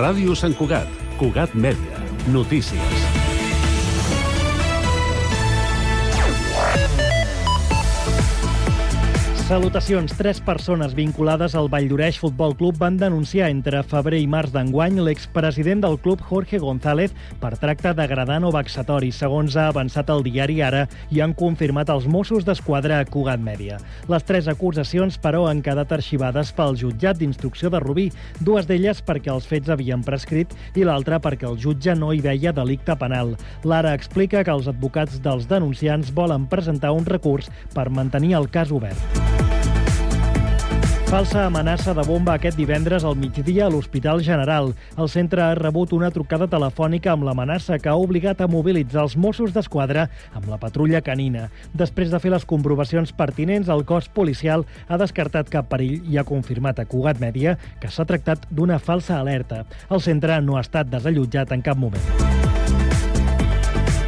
Ràdio Sant Cugat, Cugat Mèdia, notícies. Salutacions. Tres persones vinculades al Valldoreix Futbol Club van denunciar entre febrer i març d'enguany l'expresident del club Jorge González per tracte degradant o vexatori. Segons ha avançat el diari Ara i han confirmat els Mossos d'Esquadra a Cugat Mèdia. Les tres acusacions, però, han quedat arxivades pel jutjat d'instrucció de Rubí, dues d'elles perquè els fets havien prescrit i l'altra perquè el jutge no hi veia delicte penal. L'Ara explica que els advocats dels denunciants volen presentar un recurs per mantenir el cas obert. Falsa amenaça de bomba aquest divendres al migdia a l'Hospital General. El centre ha rebut una trucada telefònica amb l'amenaça que ha obligat a mobilitzar els Mossos d'Esquadra amb la patrulla canina. Després de fer les comprovacions pertinents, el cos policial ha descartat cap perill i ha confirmat a Cugat Mèdia que s'ha tractat d'una falsa alerta. El centre no ha estat desallotjat en cap moment.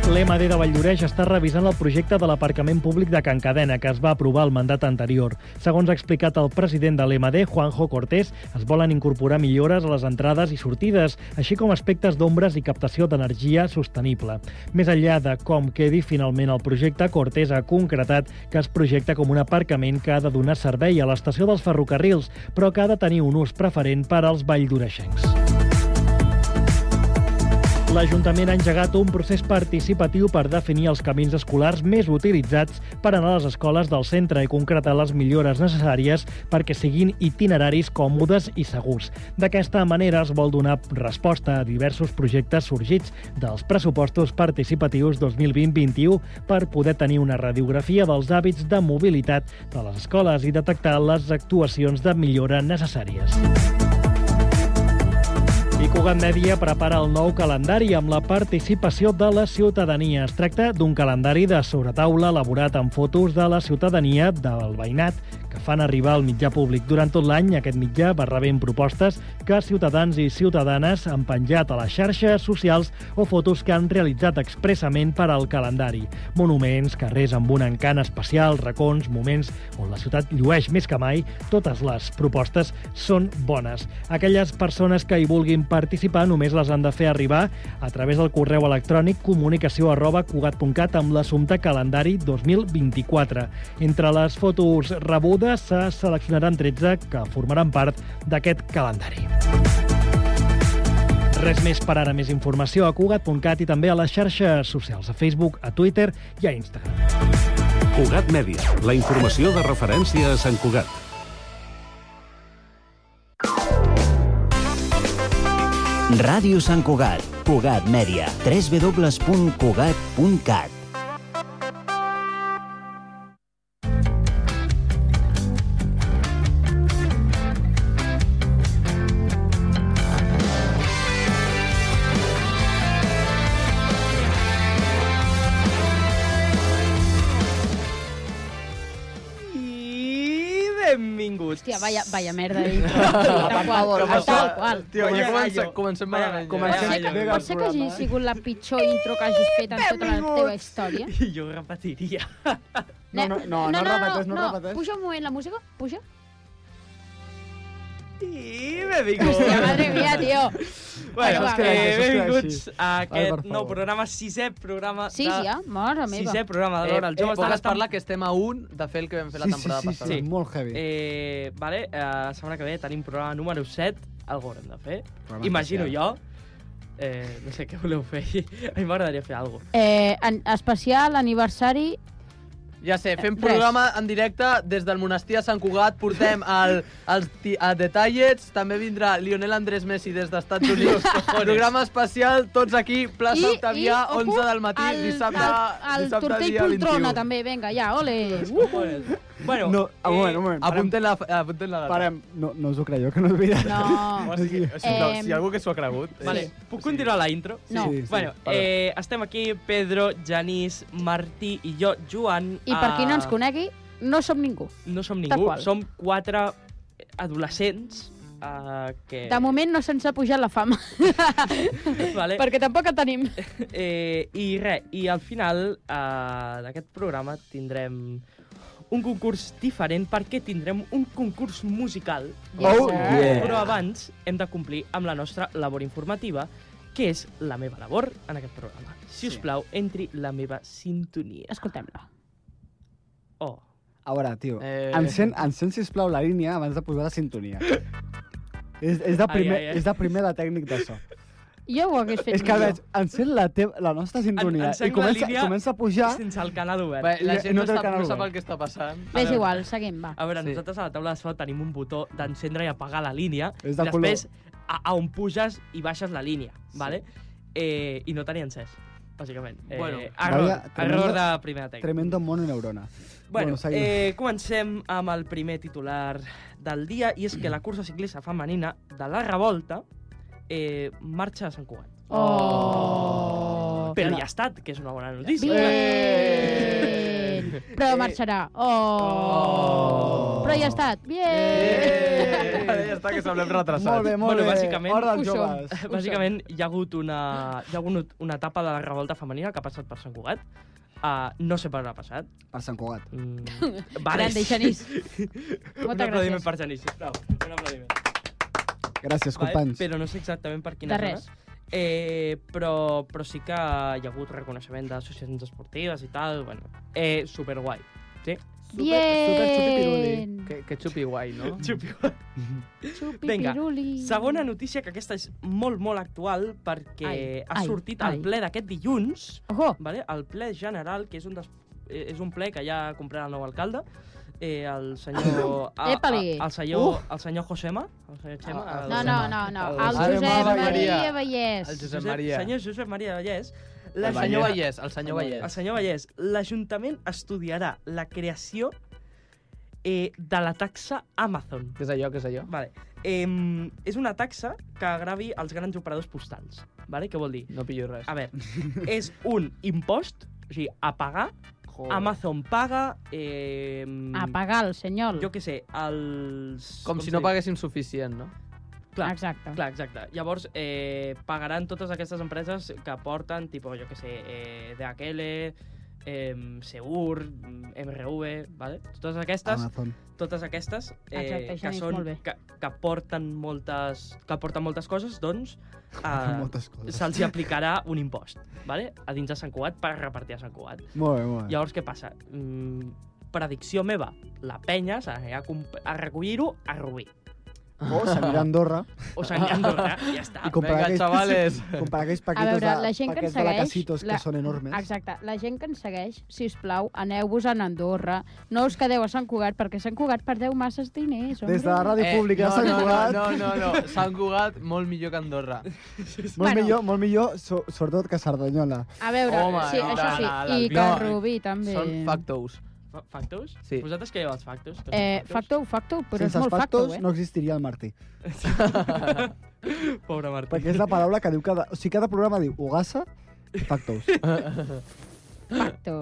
L'EMD de Valldoreix està revisant el projecte de l'aparcament públic de Can Cadena, que es va aprovar el mandat anterior. Segons ha explicat el president de l'EMD, Juanjo Cortés, es volen incorporar millores a les entrades i sortides, així com aspectes d'ombres i captació d'energia sostenible. Més enllà de com quedi finalment el projecte, Cortés ha concretat que es projecta com un aparcament que ha de donar servei a l'estació dels ferrocarrils, però que ha de tenir un ús preferent per als valldoreixencs. L'Ajuntament ha engegat un procés participatiu per definir els camins escolars més utilitzats per anar a les escoles del centre i concretar les millores necessàries perquè siguin itineraris còmodes i segurs. D'aquesta manera es vol donar resposta a diversos projectes sorgits dels pressupostos participatius 2020-21 per poder tenir una radiografia dels hàbits de mobilitat de les escoles i detectar les actuacions de millora necessàries. I Cugat Mèdia prepara el nou calendari amb la participació de la ciutadania. Es tracta d'un calendari de sobretaula elaborat amb fotos de la ciutadania del veïnat que fan arribar al mitjà públic. Durant tot l'any, aquest mitjà va rebent propostes que ciutadans i ciutadanes han penjat a les xarxes socials o fotos que han realitzat expressament per al calendari. Monuments, carrers amb un encant especial, racons, moments on la ciutat llueix més que mai, totes les propostes són bones. Aquelles persones que hi vulguin participar només les han de fer arribar a través del correu electrònic comunicació arroba cugat.cat amb l'assumpte calendari 2024. Entre les fotos rebudes se seleccionaran 13 que formaran part d'aquest calendari. Res més per ara, més informació a cugat.cat i també a les xarxes socials, a Facebook, a Twitter i a Instagram. Cugat Mèdia, la informació de referència a Sant Cugat. Ràdio Sant Cugat, Cugat Mèdia, www.cugat.cat. I benvinguts. Hòstia, vaya, vaya merda. Eh? Per Tal favor, qual, com tal això- qual. Tio, Vaya ja comença, gallo. comencem Vaya malament. gallo. Pot ser, Vaya que, gallo. pot ser que hagi sigut la pitjor intro que hagis fet en tota la teva història. I jo repetiria. Ne- No, no, no, no repeteix, no repeteix. Puja un moment la música, puja. I Hòstia, benvinguts. madre mía, tio. Bueno, Això es queda eh, així, això es queda benvinguts a Ai, aquest per nou favor. programa, sisè programa Sí, de... sí, ja, mare meva. Sisè programa de Eh, l'hora. Els joves de poques la parlar que estem a un de fer el que vam fer la temporada sí, sí, passada. Sí, Sí. molt heavy. Eh, vale, eh, la setmana que ve tenim programa número 7, algo haurem de fer. Programa Imagino especial. jo. Eh, no sé què voleu fer. A mi m'agradaria fer alguna cosa. Eh, en, especial, aniversari... Ja sé, fem Res. programa en directe des del monestir de Sant Cugat, portem el, els ti- a detallets, també vindrà Lionel Andrés Messi des d'Estats Units, programa especial, tots aquí, plaça I- Octavià, i, ojo, 11 del matí, el, dissabte, El, el dissabte tortell dia 21. poltrona, també, vinga, ja, ole. Bueno, No, un moment, un moment. Parem, Apunten la, apunten la data. parem. No, no us ho creieu, que no us veia. No. sisplau, Em, si algú que s'ho ha cregut... eh, Vale, Sí. puc continuar la intro? No. Sí, sí, Bueno, eh, estem aquí, Pedro, Janís, Martí i jo, Joan. I per a- qui no ens conegui, no som ningú. No som Tal ningú, qual. som quatre adolescents eh, que... De moment no se'ns ha pujat la fama, Vale? perquè tampoc en tenim. Eh, I res, i al final eh, d'aquest programa tindrem un concurs diferent perquè tindrem un concurs musical. Yes, Oh, sir. yeah. Però abans hem de complir amb la nostra labor informativa, que és la meva labor en aquest programa. Si us plau, entri la meva sintonia. Escoltem-la. Oh. A veure, tio, Eh. eh... encén, encén, sisplau, la línia abans de posar la sintonia. és, és, de primer, ai, ai. és de primer de tècnic de so. Jo ho hagués fet és que millor. veig, encén la, te la nostra sintonia encén i la comença, línia- comença a pujar... Sense el canal obert. Bé, la I- gent no no, té el sap, canal no sap obert. el que està passant. A És veure. igual, seguim, va. A veure, Sí. sí. nosaltres a la taula de so tenim un botó d'encendre i apagar la línia. És i de color. després, a, a on puges i baixes la línia, sí. vale? Eh, I no tenia encès, bàsicament. Eh, Bueno. error, Vaya, error tremendo- de primera tècnica. Tremendo mononeurona. Bueno, seguim. eh, comencem amb el primer titular del dia, i és que la cursa ciclista femenina de la Revolta eh, marxa a Sant Cugat. Oh. Però ja ha estat, que és una bona notícia. Eh. Bien. Eh. Però marxarà. Oh. Però ja ha estat. Eh. Bien. ja està, que semblem retrasats. Molt bé, molt Bueno, bé. bàsicament- Hora dels Ho som. joves. Ho Bàsicament, hi ha hagut una, hi ha hagut una etapa de la revolta femenina que ha passat per Sant Cugat. Uh, no sé per on ha passat. Per Sant Cugat. Mm, Grande, Genís. Un Moltes aplaudiment gràcies. per Genís, sisplau. Un aplaudiment. Gràcies, Vale, companys. però no sé exactament per quina De res. zona. Eh, però, però sí que hi ha hagut reconeixement d'associacions esportives i tal. Bueno, eh, superguai. Bien. Que, que xupi guai, no? Xupi. Xupi Vinga, piruli. Segona notícia, que aquesta és molt, molt actual, perquè Ai, ha ai, sortit ai. al ple d'aquest dilluns, Ojo. vale? el ple general, que és un, des... eh, és un ple que ja comprarà el nou alcalde, eh, el senyor... a- a- Épale. el, senyor el senyor Josema. El senyor Chema, Ah, el- No, no, no, no. El El Josep Josep Maria. Maria Vallès. El Josep Maria. Senyor Josep Maria Vallès. El senyor Vallès, el senyor El Vallès. senyor Vallès, l'Ajuntament estudiarà la creació eh, de la taxa Amazon. Què és allò, què és allò? Vale. Eh, és una taxa que agravi els grans operadors postals. Vale? Què vol dir? No pillo res. A veure, és un impost, o sigui, a pagar. Joder. Amazon paga... Eh, A pagar el senyor. Jo què sé, els... Com si se no diu? paguéssim suficient, no? Clar, Exacte. Clar, exacte. Llavors, eh, pagaran totes aquestes empreses que porten, tipo, jo que sé, eh, DHL, eh, Segur, mm, MRV, vale? totes aquestes, Ah. Amazon. totes aquestes Exacte, eh, que, això anís molt són, bé. que, que, porten moltes, que porten moltes coses, doncs eh, Moltes coses. se'ls hi aplicarà un impost vale? a dins de Sant Cugat per repartir a Sant Cugat. Molt bé, molt bé. Llavors, què passa? Mm, predicció meva, la penya s'anirà a, comp- a recollir-ho a Rubí. O s'anirà a Andorra O s'anirà a Andorra, eh? ja està. i comprarà Vinga, aquells, xavales. comprarà aquells A paquetes, veure, de, la gent que ens paquets de segueix... lacacitos la- que són enormes. Exacte. La gent que ens segueix, si us plau, aneu-vos a Andorra. No us quedeu a Sant Cugat, perquè a Sant Cugat perdeu masses diners. Hombre. Des de la ràdio pública de Sant Eh, no, Cugat, No, no, no, no. Sant Cugat molt millor que Andorra. molt Bueno. millor, molt millor, so, sobretot que Cerdanyola. A veure, Home, sí, no, això sí. no, no, I no, que no, Rubí també. Són factous. Fa- Factos? Sí. Vosaltres creieu els factos? Tots Eh, els facto, facto, però Sense és molt els facto, factos eh? no existiria el Martí. Pobre Martí. Perquè és la paraula que diu cada... O sigui, cada programa diu Ugassa, factos. Facto.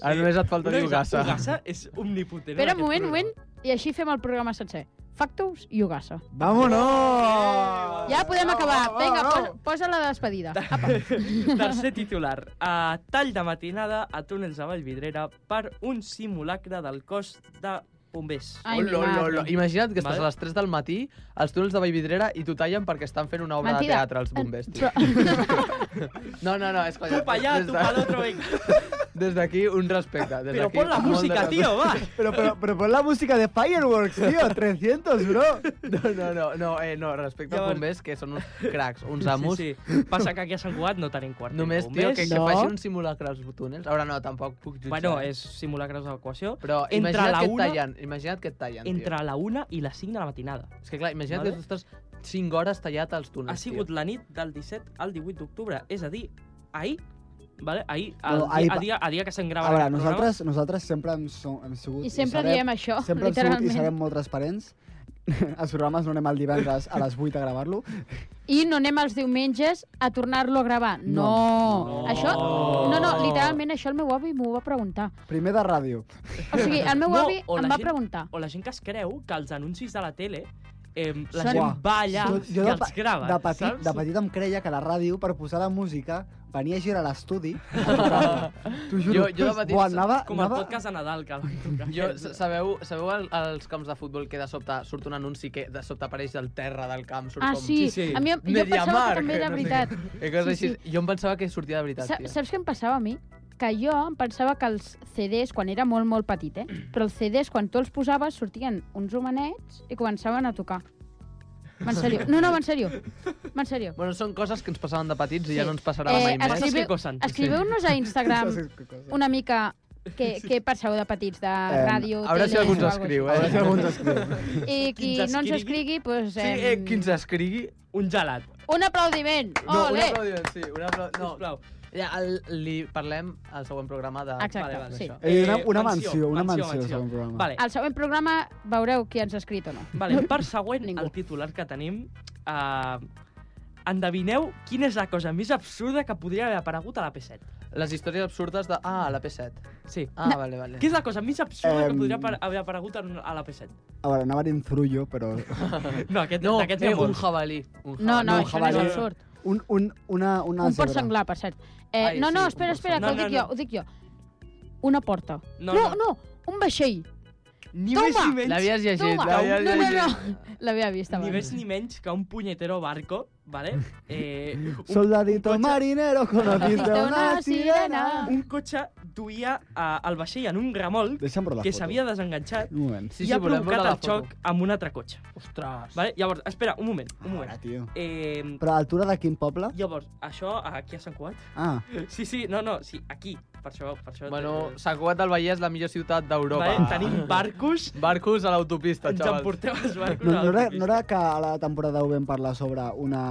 Ara només et falta dir Ugassa. Ugassa és omnipotent. en Espera, aquest un moment, un moment, programa. i així fem el programa sencer. Factos i Ugassa. Vámonos! Ja podem acabar. Ah, va, Vinga, va. posa, posa la despedida. Apa. Tercer titular. A tall de matinada a túnels de Vallvidrera per un simulacre del cos de bombers. Ai, Oh, mi lo, lo, madre. lo. Imagina't que estàs Vale. a les 3 del matí als túnels de Vallvidrera i t'ho tallen perquè estan fent una obra Mentida. de teatre els bombers, tio. No, no, no, és Tu colla. pa allà, Des tu de- pa l'altre, vinga. Des d'aquí, un respecte. Des Però d'aquí, pon la molt de música, respecte. tio, va. Pero, pero, pero pon la música de Fireworks, tío. 300, bro. No, no, no, no, eh, no respecte als Llavors- bombers, que són uns cracs, uns amos. Sí, sí. Passa que aquí a Sant Cugat no tenim quartel de Només, tio, bombers. que, que No. facin un simulacre als túnels. Ara no, tampoc puc jutjar. eh. Bueno, és simulacres d'evacuació. Però entre imagina't la que et una- tallen, imagina't que et tallen, tio. Entre la 1 i les 5 de la matinada. És que clar, imagina't Vale. que tu estàs 5 hores tallat als túnels, Ha sigut tio. la nit del 17 al 18 d'octubre. És a dir, ahir, vale? ahir, No, el, no, ahir ahir a, va- dia, a dia que se'n grava A veure, aquest programa, nosaltres, nosaltres sempre hem, som, hem sigut... I sempre serem- diem això, Sempre hem sigut i Oh, literalment. serem molt transparents. Els programes no anem el divendres a les 8 a gravar-lo. I no anem els diumenges a tornar-lo a gravar. No. No. Això, No. no, no, literalment això el meu avi m'ho va preguntar. Primer de ràdio. O sigui, el meu No, avi o la em va gent- preguntar. o la gent que es creu que els anuncis de la tele eh, la Són- gent balla Jo- i de, els pe- grava, de, petit, saps? de petit em creia que la ràdio, per posar la música, venia a girar a l'estudi. a tocar-la. T'ho juro. Jo- jo de petit Buah, anava, Com el anava... podcast de Nadal que van tocar. Jo, sa- sabeu, sabeu el, els camps de futbol que de sobte surt un anunci que de sobte apareix del terra del camp? Surt Ah, com... sí. Sí, sí. A mi, em- jo pensava que Mediamarkt, també era no sé veritat. què. I coses Sí, així. Jo em pensava que sortia de veritat, Sa- tio. Saps què em passava a mi? Que jo em pensava que els CDs, quan era molt, molt petit, eh? Però els CDs, quan tu els posaves, sortien uns humanets i començaven a tocar. Va, En sèrio. No, no, va, en sèrio. Va, En sèrio. Bueno, són coses que ens passaven de petits i Sí. ja no ens passarà Eh, mai més. Coses escriviu- que cosen. Escriveu-nos a Instagram una mica què, què penseu de petits, de Em, ràdio, A veure si teles algú ens o alguna escriu, A eh? veure si algú ens escriu. cosa així. I qui Quins no ens escrigui. escrigui, doncs... Sí, eh, qui ens escrigui... Un gelat, Un aplaudiment! No, un Ole! aplaudiment, sí, un aplaudiment. No, sisplau. ja, el, li parlem al següent programa de... Exacte, vale, sí. això. Eh, una, Eh, una menció, menció, una menció, menció, menció, menció. segon programa. Vale, Al següent programa veureu qui ens ha escrit o no. Vale, per següent, Ningú. Ningú. el titular que tenim... Uh, endevineu quina és la cosa més absurda que podria haver aparegut a la P7. Les històries absurdes de... Ah, la P7. Sí. Ah, vale, vale. Què és la cosa més absurda Em. que podria apar- haver aparegut en- a la P7? A veure, anava a dir un zurullo, però... No, aquest, No, d'aquests n'hi ha eh, un molts. jabalí. Un jabalí. No, no, No, això no és jabalí. absurd. Un, un, una, una Un porc zebra. senglar, per cert. Eh, Ai, no, sí, no, un espera, porc espera, que senglar. ho dic No, no, jo, ho dic jo. Una porta. No, no, no. no, un vaixell. Ni Toma! més ni menys, L'havies llegit, Toma! l'havies No, no, llegit. no. L'havia vist ni abans. més ni menys que un punyetero barco, vale? Eh, un, Soldadito cotxe- marinero, Conociste conociste una, una una sirena. sirena. un cotxe duia eh, el vaixell en un remolc Deixa'm veure la que foto. s'havia desenganxat Un moment. Sí, i sí, ha volem veure provocat la el foto. xoc amb un altre cotxe. Ostres. Ah, Vale? Llavors, espera, un moment, un Ara, moment. tio. Eh, Però a altura de quin poble? llavors, això aquí a Sant Cugat Ah, Sí, sí, no, no, sí, aquí. Per això... Per això eh, Bueno, Sant Cugat del Vallès és la millor ciutat d'Europa. vale, tenim barcos, Barcos a l'autopista, ens xavals. emporteu els barcos. no, a no, era, l'autopista. no era que a la temporada ho vam parlar sobre una...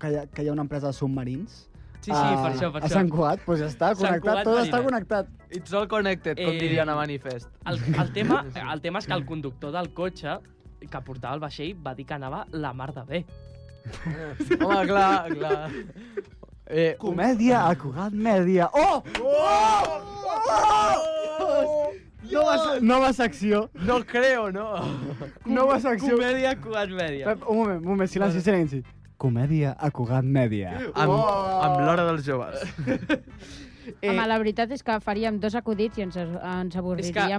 Que hi, ha, que hi ha una empresa de submarins? Ah, Sí, sí, per això, per a això. Sant Cugat, doncs ja està, Sant connectat, Cugat tot està Mariner. connectat. It's all connected, com Eh, dirien a Manifest. El, el, tema, el tema és que el conductor del cotxe que portava el vaixell va dir que anava la mar de bé. Home, clar, clar. Eh, Comèdia a Cugat Mèdia. Oh! Oh! oh! Nova, nova secció. no creo, no? Nova secció. Comèdia, Cugat Mèdia. Pep, un moment, un moment, silenci, silenci. Comèdia a Cugat Mèdia. Amb, amb l'hora dels joves. Eh, Home, la veritat és que faríem dos acudits i ens, ens avorriríem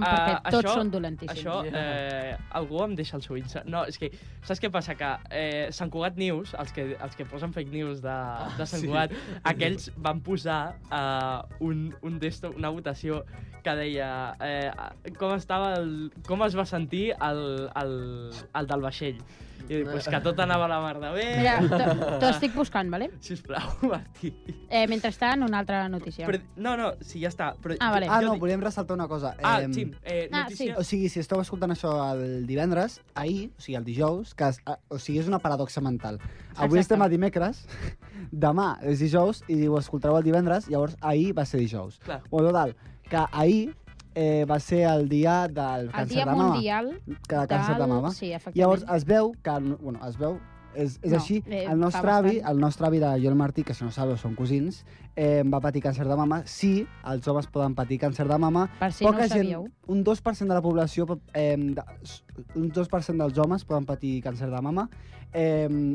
eh, perquè tots això- són dolentíssims. Això, eh, algú em deixa el suïns. No, és que, saps què passa? Que eh, Sant Cugat News, els que, els que posen fake news de, Ah, de Sant Cugat, aquells van posar eh, un, un desto, una votació que deia eh, com, estava el, com es va sentir el, el, el del vaixell. I pues, que tot anava a la mar de bé. Mira, t'ho- t'ho estic buscant, vale? Sisplau, Martí. Eh, mentrestant, una altra notícia. Però, no, no, sí, ja està. Però Ah, vale. Ah, jo no, dic- volíem ressaltar una cosa. Ah, Em, sí, eh, Ah, notícia... O sigui, si esteu escoltant això el divendres, ahir, o sigui, el dijous, que es, a- o sigui, és una paradoxa mental. Avui Exacte. estem a dimecres, demà és dijous, i ho escoltareu el divendres, llavors ahir va ser dijous. Clar. O total, que ahir eh, va ser el dia del El càncer Dia de mama. Mundial que de càncer de mama. Sí, efectivament. Llavors es veu que... el- Bueno, es veu... És, és No, així, eh, el nostre fa avi, bastant. el nostre avi de Joel Martí, que si no sabeu són cosins, eh, va patir càncer de mama. Sí, els homes poden patir càncer de mama. per si no ho sabíeu. un 2% de la població, pot- eh, de, un 2% dels homes poden patir càncer de mama. Eh,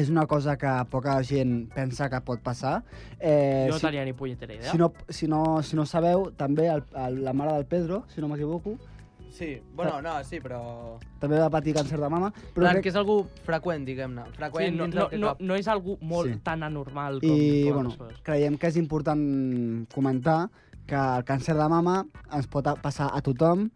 és una cosa que poca gent pensa que pot passar. Eh, Jo no si- tenia ni punyetera idea. si no, si, no, si no sabeu, també el, el, la mare del Pedro, si no m'equivoco, Sí, bueno, no, sí, però... també va patir càncer de mama. Però Però Clar, crec- que és algú freqüent, diguem-ne. Sí, Freqüent no, dins no, del que no, cap. no és algú molt Sí. sí. tan anormal com, I, com bueno, altres coses. creiem que és important comentar que el càncer de mama ens pot a- passar a tothom,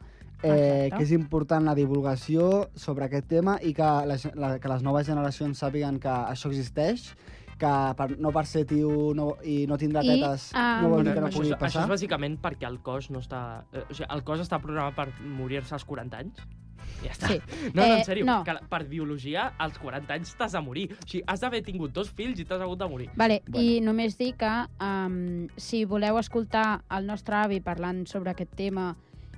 eh, Exacte. que és important la divulgació sobre aquest tema i que les, la, que les noves generacions sàpiguen que això existeix, que per, no per ser tio no, i no tindrà I, um, tetes no vol dir que no això, pugui és, això passar. és bàsicament perquè el cos no està... Eh, o sigui, el cos està programat per morir-se als 40 anys. Ja està. Sí. No, no, Eh, en sèrio, no. que la- per biologia als 40 anys t'has de morir. O sigui, has d'haver tingut dos fills i t'has hagut de morir. Vale, Bueno. i només dir que um, si voleu escoltar el nostre avi parlant sobre aquest tema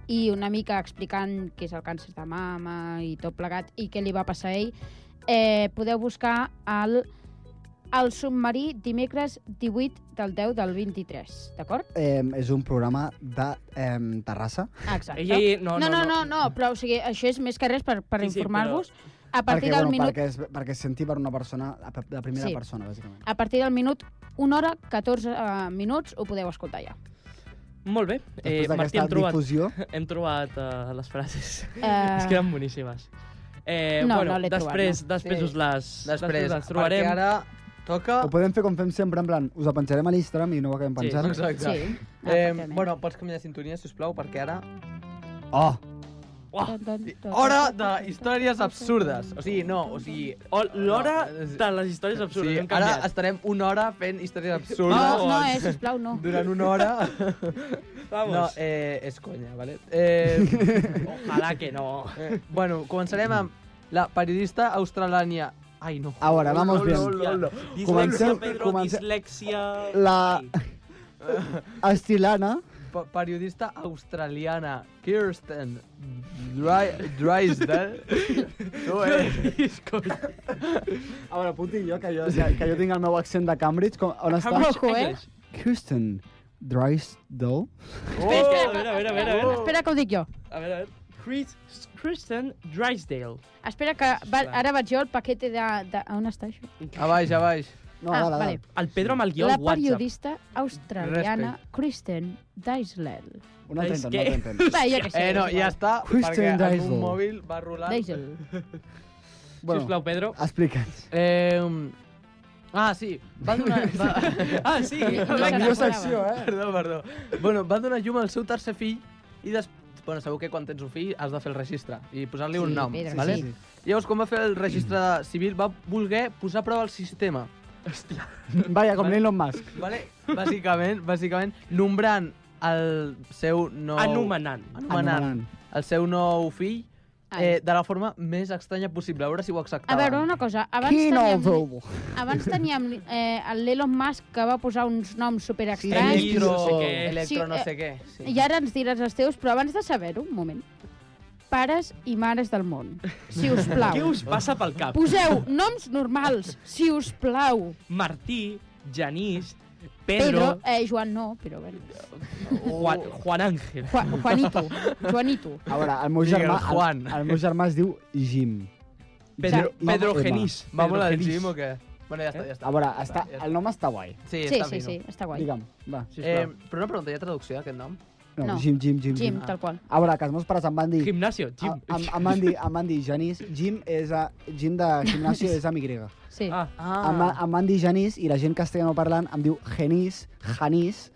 i una mica explicant què és el càncer de mama i tot plegat i què li va passar a ell, eh, podeu buscar el, el submarí dimecres 18 del 10 del 23, d'acord? Eh, és un programa de eh, Terrassa. Exacte. Ei, ei, no, no, no, no, no, però o sigui, això és més que res per, per Sí, sí, sí, informar-vos. Sí, a partir perquè, del bueno, minut perquè, es, perquè es senti per una persona, la, pe- la primera Sí. persona, bàsicament. A partir del minut 1 hora 14 eh, minuts ho podeu escoltar ja. Molt bé. Eh, Després Martí, d'aquesta hem trobat, difusió... hem trobat uh, les frases. Eh, Es queden boníssimes. Eh, No, bueno, no l'he trobat, després, no. després Sí. us les, Després, després les trobarem. perquè ara toca... Ho podem fer com fem sempre, en plan, us la penjarem a l'Instagram i no ho acabem Sí, penjant. Sí, Exacte. sí, Eh, efectivament. bueno, pots canviar de sintonia, si us plau, perquè ara... oh, Tan, tan, tan, Hora tan, de tan, tan, tan, històries tan, absurdes. tan, O sigui, no, o sigui... O Oh, l'hora No, és- de les històries absurdes. Sí, hem ara canviat. estarem una hora fent històries No, absurdes. no, no eh, sisplau, no. Durant una hora... Vamos. No, eh, és conya, vale? Eh, Ojalà que no. eh, bueno, començarem amb la periodista australània... Ai, no. a veure, vamos bien. Dislexia, Comencem- Pedro, comencem- dislexia... La- Estilana, Pa- periodista australiana Kirsten Dry Drysdale. tu, eh? a veure, puc dir jo que jo, que, que jo tinc el meu accent de Cambridge, com, on està? Cambridge. Ojo, eh? Kirsten Drysdale. Oh, Espera, a veure, a veure, a veure. Espera que ho dic jo. A veure, a veure. Chris, Kristen Drysdale. Espera que va, ara vaig jo al paquete de, de... On està això? A baix, a baix. No, Ah, a veure, a vale. veure. El Pedro amb el guió La al WhatsApp. periodista australiana Kristen Daisel. Un altre És intent, que- un altre intent. Va, jo què sé. Eh, no, ja està, perquè Kirsten el meu Drysdale. mòbil va rolant. Daisel. Bueno. Sisplau, Pedro. explica'ns. Eh, ah, sí, va donar... Va, Ah, sí. La se millor n'acordava. secció, eh? perdó, perdó. Bueno, va donar llum al seu tercer fill i des... Bueno, sabeu que quan tens un fill has de fer el registre i posar-li Sí, un nom, Pedro, vale? sí. Llavors, quan va fer el registre civil, va voler posar a prova el sistema. Vaja, com l'Elon Musk. Vale? Bàsicament, bàsicament, nombrant el seu nou... Anomenant. Anomenant. El seu nou fill eh, de la forma més estranya possible. A veure si ho A acceptava. veure, una cosa. Abans Quin teníem, ovo! abans teníem eh, el Elon Musk que va posar uns noms super Sí, estranys. Electro, no sé què. electro Sí, no eh, sé què. Sí. I ara ens diràs els teus, però abans de saber-ho, un moment. Pares i mares del món, si us Què plau. us passa pel cap? Poseu noms normals, si us plau. Martí, Janís, Pedro, Pedro, eh, Joan no, però bueno. Juan, Juan Ángel. Juan, Juanito, Juanito. A veure, el meu Miguel germà... Juan. El, el meu germà es diu Jim. Pedro, Ja. Pedro Vamos, Genís. Vamos Pedro al Genís. gym o què? Bueno, ja està, ja està. A veure, està, el nom està guai. Sí, Sí, està sí, fino. sí, està guai. Digue'm, va. Eh, Sisplau. però una pregunta, hi ha traducció d'aquest nom? No, No. Jim, Jim, Jim, Jim, Ah. Jim. tal qual. A veure, que els meus pares em van dir... Gimnasio, Em, Jim. em, em, van dir, em van dir Genís, Jim és a, Jim de gimnàsia és amb Y. Sí. Ah, Em, va- em van dir Genís i la gent castellano parlant em diu Genís, Janís...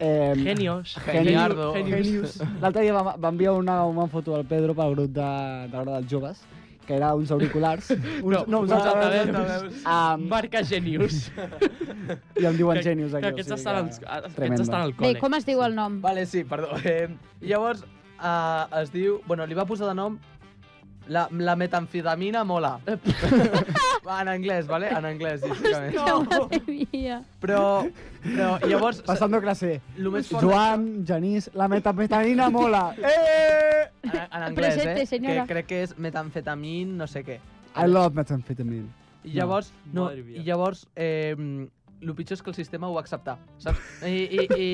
Eh, genios. Geniardo. Genius. L'altre dia va, va enviar una, una foto del Pedro pel grup de, de l'hora dels joves, que era uns auriculars, uns, no, uns altaveus, um, Marca Genius. i em diuen Que- genius Que aquí. aquests o sigui estan, que- als, aquests tremendo. estan al Bé, col·le. com es diu el nom? Vale, sí, perdó. Eh, llavors, eh, es diu... Bueno, li va posar de nom la, la metamfetamina mola. en anglès, vale? En anglès, bàsicament. Madre mia. Però, però llavors, Passando classe. el més fort... Joan, Genís, la metamfetamina mola. Eh! En, en anglès, Presente, eh? senyora. Que crec que és metamfetamin, no sé què. I love metamfetamine. I llavors, no, Madre mía. i llavors, eh, el pitjor és que el sistema ho va acceptar, saps? I, i, i,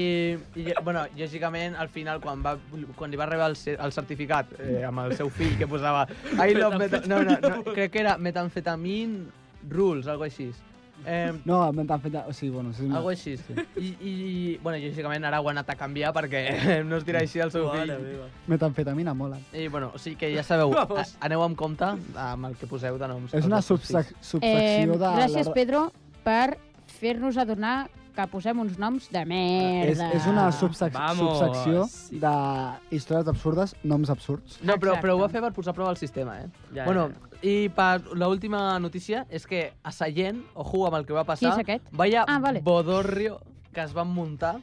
i lle- bueno, lògicament, al final, quan, va, quan li va arribar el, cer- el certificat eh, amb el seu fill que posava I love meta... No, no, no, crec que era metamfetamin rules, algo així. Eh, No, metamfetamina... O sigui, bueno... Sí, algo així. I, i, i, bueno, lògicament ara ho ha anat a canviar perquè no es dirà així al seu Mare fill. meva. metamfetamina mola. I, bueno, o sigui que ja sabeu, a, Vamos. aneu amb compte amb el que poseu de noms. És una als vostres subsec Eh, fills. subsecció de... gràcies, la- Pedro, per fer-nos adonar que posem uns noms de Ah, És, merda. és una subsec Vamos. subsecció Sí. de històries absurdes, noms absurds. No, però, però ho va Exacte. fer per posar a prova el sistema, eh? Ja, bueno, ja, i per l'última notícia és que a Sallent, ojo amb el que va Qui passar, és aquest? vaya Ah, vale. bodorrio que es van muntar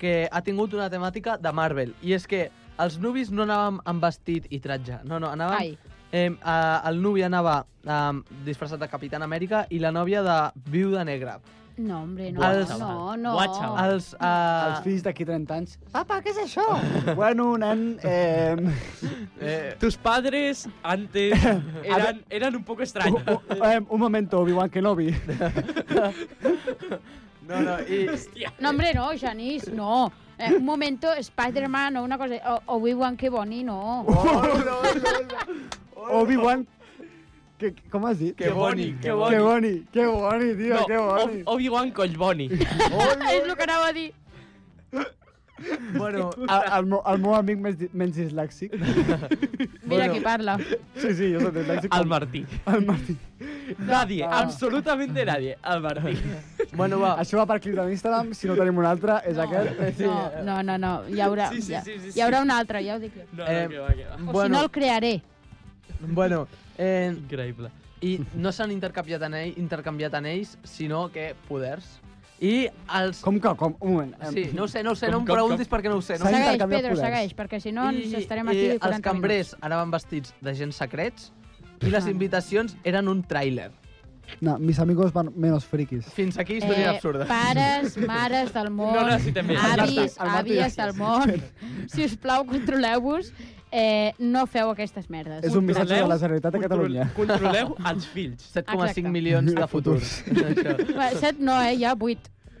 que ha tingut una temàtica de Marvel. I és que els nubis no anàvem amb vestit i tratge. No, no, anàvem... Ai, Eh, a, el nubi anava eh, disfressat de Capitán Amèrica i la nòvia de Viuda Negra. no, hombre, no, Els- no, no. Guà, xaval. Els, eh, Els fills d'aquí 30 anys... Papa, què és això? bueno, nen... Eh, eh, Tus padres antes eran, eran un poco extraños. eh, un momento, Obi-Wan Kenobi. no, no, i, Hòstia. No, hombre, no, Janís, no. Eh, un momento, Spider-Man o una cosa... O, Oh, o Obi-Wan, que boni, no. Obi-Wan Que, com has dit? Que boni, que Que boni, que boni, tio, No, que boni. Ob- Obi-Wan Collboni. És el que anava a dir. Bueno, El, el, meu, el meu amic més, di- menys dislèxic. Mira Bueno. qui parla. Sí, sí, jo soc dislèxic. El Martí. El Martí. Nadie, Ah. absolutamente nadie. El Martí. bueno, va. Això va per clip d'Instagram, si no tenim un altre, és aquest. No, no, no, no. Hi haurà, Sí, sí, hi ha- sí, sí, hi haurà un altre, ja ho dic jo. No, Eh, no, que va, que va. O si no, Bueno, el crearé. bueno, eh, Increïble. i no s'han intercanviat, anell, intercanviat anells, sinó que poders. I els... Com que, com? Un moment. em- Sí, no ho sé, no ho sé, Com- no em com- preguntis perquè no ho sé. No ho S'ha sé. Segueix, intercanviat Pedro, poders. segueix, perquè si no ens estarem i aquí els 40 cambrers minuts. anaven vestits d'agents secrets i Ah. les invitacions eren un tràiler. No, mis amigos van menos frikis. Fins aquí història absurda. Eh, pares, mares del món, No necessitem més. Ja avis, està, el Martí, àvies del gràcies. món, si us plau, controleu-vos, eh, no feu aquestes merdes. És un missatge de Controleu- la Generalitat de Catalunya. Controleu els fills. 7,5 Exacte. milions de futurs. Això. Va, Set no, eh, ja, vuit.